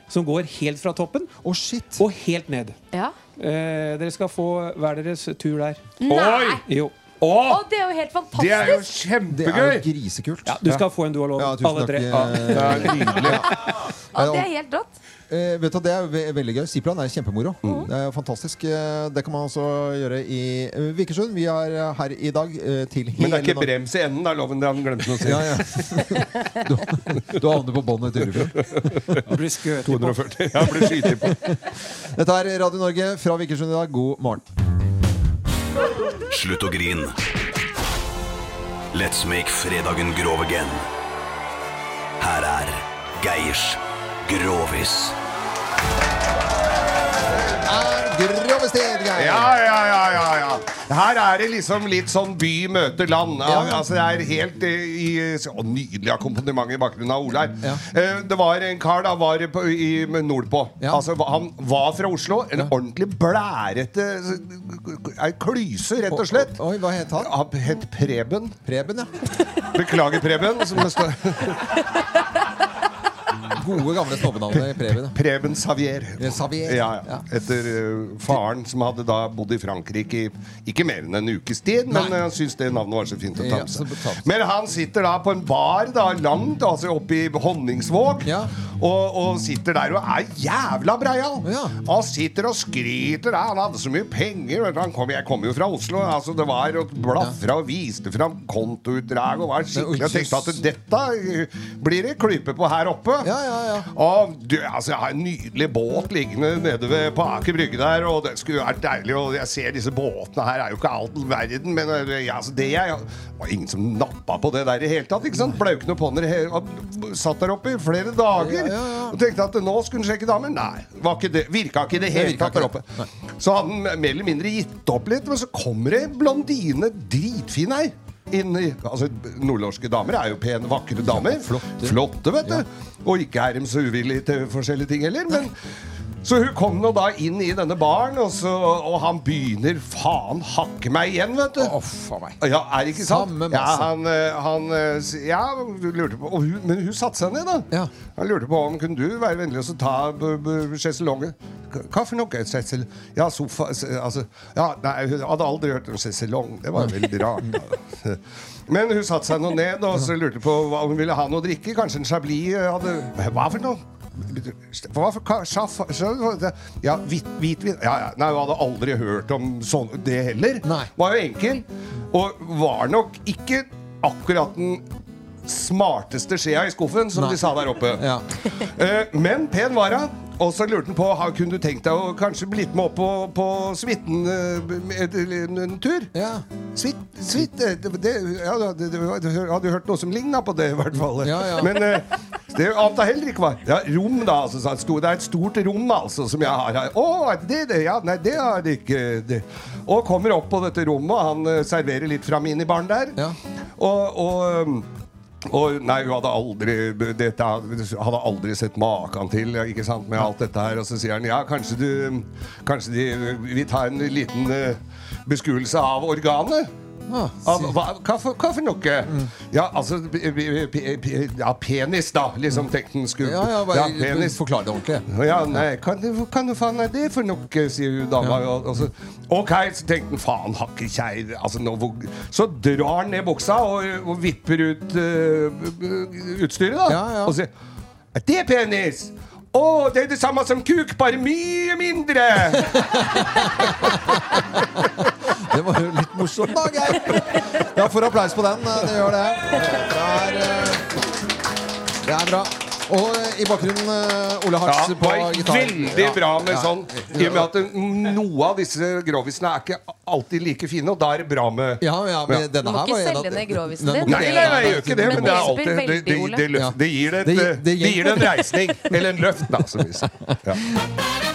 Speaker 14: som går helt fra toppen og helt ned.
Speaker 13: Ja.
Speaker 14: Eh, dere skal få hver deres tur der.
Speaker 13: Nei!
Speaker 14: Jo.
Speaker 13: Å, det er jo helt fantastisk!
Speaker 3: Det er jo grisekult.
Speaker 14: Ja, du skal få en du har lov.
Speaker 3: Ja, tusen
Speaker 14: Alle
Speaker 3: takk.
Speaker 14: tre.
Speaker 3: eh,
Speaker 14: Ja. Det er nydelig.
Speaker 13: Å, det er helt rått. Mm.
Speaker 3: Eh, vet du, Det er ve veldig gøy. Zipline er kjempemoro. Det er fantastisk. Eh, Det kan man også gjøre i eh, Vikersund. Vi er eh, her i dag eh, til hele
Speaker 5: Men det er ikke
Speaker 3: Norge.
Speaker 5: brems i enden, da, Loven. Det han glemte noe
Speaker 3: Ja, ja. Du, du havner på båndet etter Urefjord.
Speaker 14: Du blir skutt
Speaker 5: på. 240. Ja, blir skutt på.
Speaker 3: Dette er Radio Norge fra Vikersund i dag. God morgen.
Speaker 16: Slutt å grin. Let's make fredagen grov again. Her er Geirs Grovis.
Speaker 3: Grovestid, Geir!
Speaker 5: Ja, ja, ja, ja, ja. Her er det liksom litt sånn by møter land. Ja, Altså, det er helt eh, i, å, Nydelig akkompagnement i bakgrunnen av Ole her. Eh, Det var en kar da var på, i nordpå. Altså, hva- han var fra Oslo. En ordentlig blærete eh, Ei klyse, rett og slett.
Speaker 3: Oi, hva het han?
Speaker 5: Han het Preben.
Speaker 3: Preben, ja.
Speaker 5: Beklager, Preben. Som det står.
Speaker 3: Gode, gamle snobbenavnet Preben. da.
Speaker 5: Preben Savier.
Speaker 3: Savier.
Speaker 5: Ja, ja. Etter eh, faren som hadde da bodd i Frankrike i ikke mer enn en ukes tid, men eh, han syntes det navnet var så fint å ta
Speaker 3: Ja,
Speaker 5: med
Speaker 3: så
Speaker 5: seg. Men han sitter da på en bar da, langt altså oppe i Honningsvåg, og, og sitter der og er jævla breial. Han sitter og skryter. da. Han hadde så mye penger. Vet du. Han kom, jeg kommer jo fra Oslo. Altså, det var å blafra og viste fram kontoutdrag og var skikkelig og tenkte at dette eh, blir det klype på her oppe.
Speaker 3: Ja, ja, ja.
Speaker 5: Og du, altså, jeg har en nydelig båt liggende nede ved, på Aker Brygge der, og det skulle jo vært deilig. Og jeg ser disse båtene her, er jo ikke all verden, men eh, ja, altså, det er jo det var ingen som nappa på det der i hele tatt. ikke sant? Blaukne ponner he- og satt der oppe i flere dager og tenkte at eh, nå skulle hun sjekke damer. Nei, var ikke det, virka ikke i det
Speaker 3: Det
Speaker 5: hele
Speaker 3: virka
Speaker 5: tatt der oppe. Så hadde han mer eller mindre gitt opp litt, men så kommer det en blondine, dritfin ei. Inn i, altså, nordnorske damer er jo pene, vakre damer. flotte. vet du. Og ikke er de så uvillige til forskjellige ting heller. Men, så hun kom nå da inn i denne baren, og, så, og han begynner faen hakke meg igjen, vet du. Ja, er det ikke sant?
Speaker 3: Samme masse.
Speaker 5: ja, han, eh, han eh, s- ja, hun lurte på og hun, Men hun satte seg ned, da. Han lurte på om kunne du være vennlig og så ta b- b- sjeselongen. K- Hva for noe? Sesel... Ja, sofa s- altså, ja, Nei, hun hadde aldri hørt om sjeselong. Det var veldig rart. da. Men hun satte seg nå ned og så lurte på hva hun ville ha noe å drikke. Kanskje en chablis eh, hadde Hva for noe? Hva for ka- sjaff- sjaff- Ja, hvit, hvitvin ja, ja. Nei, hun hadde aldri hørt om sånn, det heller. Var jo enkel. Og var nok ikke akkurat den smarteste skjea i skuffen, som
Speaker 3: Nei.
Speaker 5: de sa der oppe. Eh, men pen var hun. Og så lurte han på har kunne du tenkt deg å kanskje blitt med opp på, på suiten eh, med- en en tur.
Speaker 3: Ja.
Speaker 5: Suite, suite, det, det, ja, det, det, det, Hadde jo hørt noe som ligna på det, i hvert fall.
Speaker 3: Ja, ja.
Speaker 5: Men eh, det ante jeg heller ikke hva. Ja, rom, da. Altså, sa han. Sto- det er et stort rom altså, som jeg har her. Å, er det det? Ja, nei, det har det ikke. Det. Og kommer opp på dette rommet, og han eh, serverer litt fra minibaren der. Og, og um, og nei, hun hadde aldri dette, hadde aldri sett maken til ikke sant, med alt dette her. Og så sier han ja, kanskje du mm, Kanskje de, vi tar en liten eh, beskuelse av organet?
Speaker 3: Ah,
Speaker 5: Av, hva, hva, for, hva for noe? Ja, altså p- p- p- p- Ja, penis, da. Liksom tenkte han skulle
Speaker 3: Ja, ja, bare
Speaker 5: Forklar det ordentlig. Ja, nei, kan, du- kan du faen er det for noe, sier hun dama. Og, og så, ok, så tenkte han faen, hakke kjær altså, nå, hvor- Så drar han ned buksa og, og vipper ut eh, utstyret, da. Og sier Er det penis? Å, det er det samme som kuk, bare mye mindre!
Speaker 3: Det var jo litt morsomt, da, Geir. Ja, får applaus på den. eh, Det gjør det. Det er, eh, det er bra. Og eh, i bakgrunnen eh, Ole
Speaker 5: Ja,
Speaker 3: Hartz
Speaker 5: det
Speaker 3: på
Speaker 5: var
Speaker 3: gitar.
Speaker 5: veldig
Speaker 3: Ja,
Speaker 5: bra med
Speaker 3: ja.
Speaker 5: sånn. I og med at det- noe av disse grovisene er ikke alltid like fine, og da er det bra med
Speaker 3: Ja, ja, men denne
Speaker 13: Du må
Speaker 3: her
Speaker 13: ikke
Speaker 3: var en av-
Speaker 13: selge ned grovisen
Speaker 3: Nei,
Speaker 13: din.
Speaker 5: Nei, nei, nei, jeg gjør ikke det, men det er
Speaker 13: hjelper
Speaker 5: alltid Det, det,
Speaker 13: veldig, Ole.
Speaker 5: det, løs- det gir det et,
Speaker 3: Det gir- det
Speaker 5: det gir det en
Speaker 3: hjelper.
Speaker 5: reisning. Eller en løft, da, som vi sier. Ja.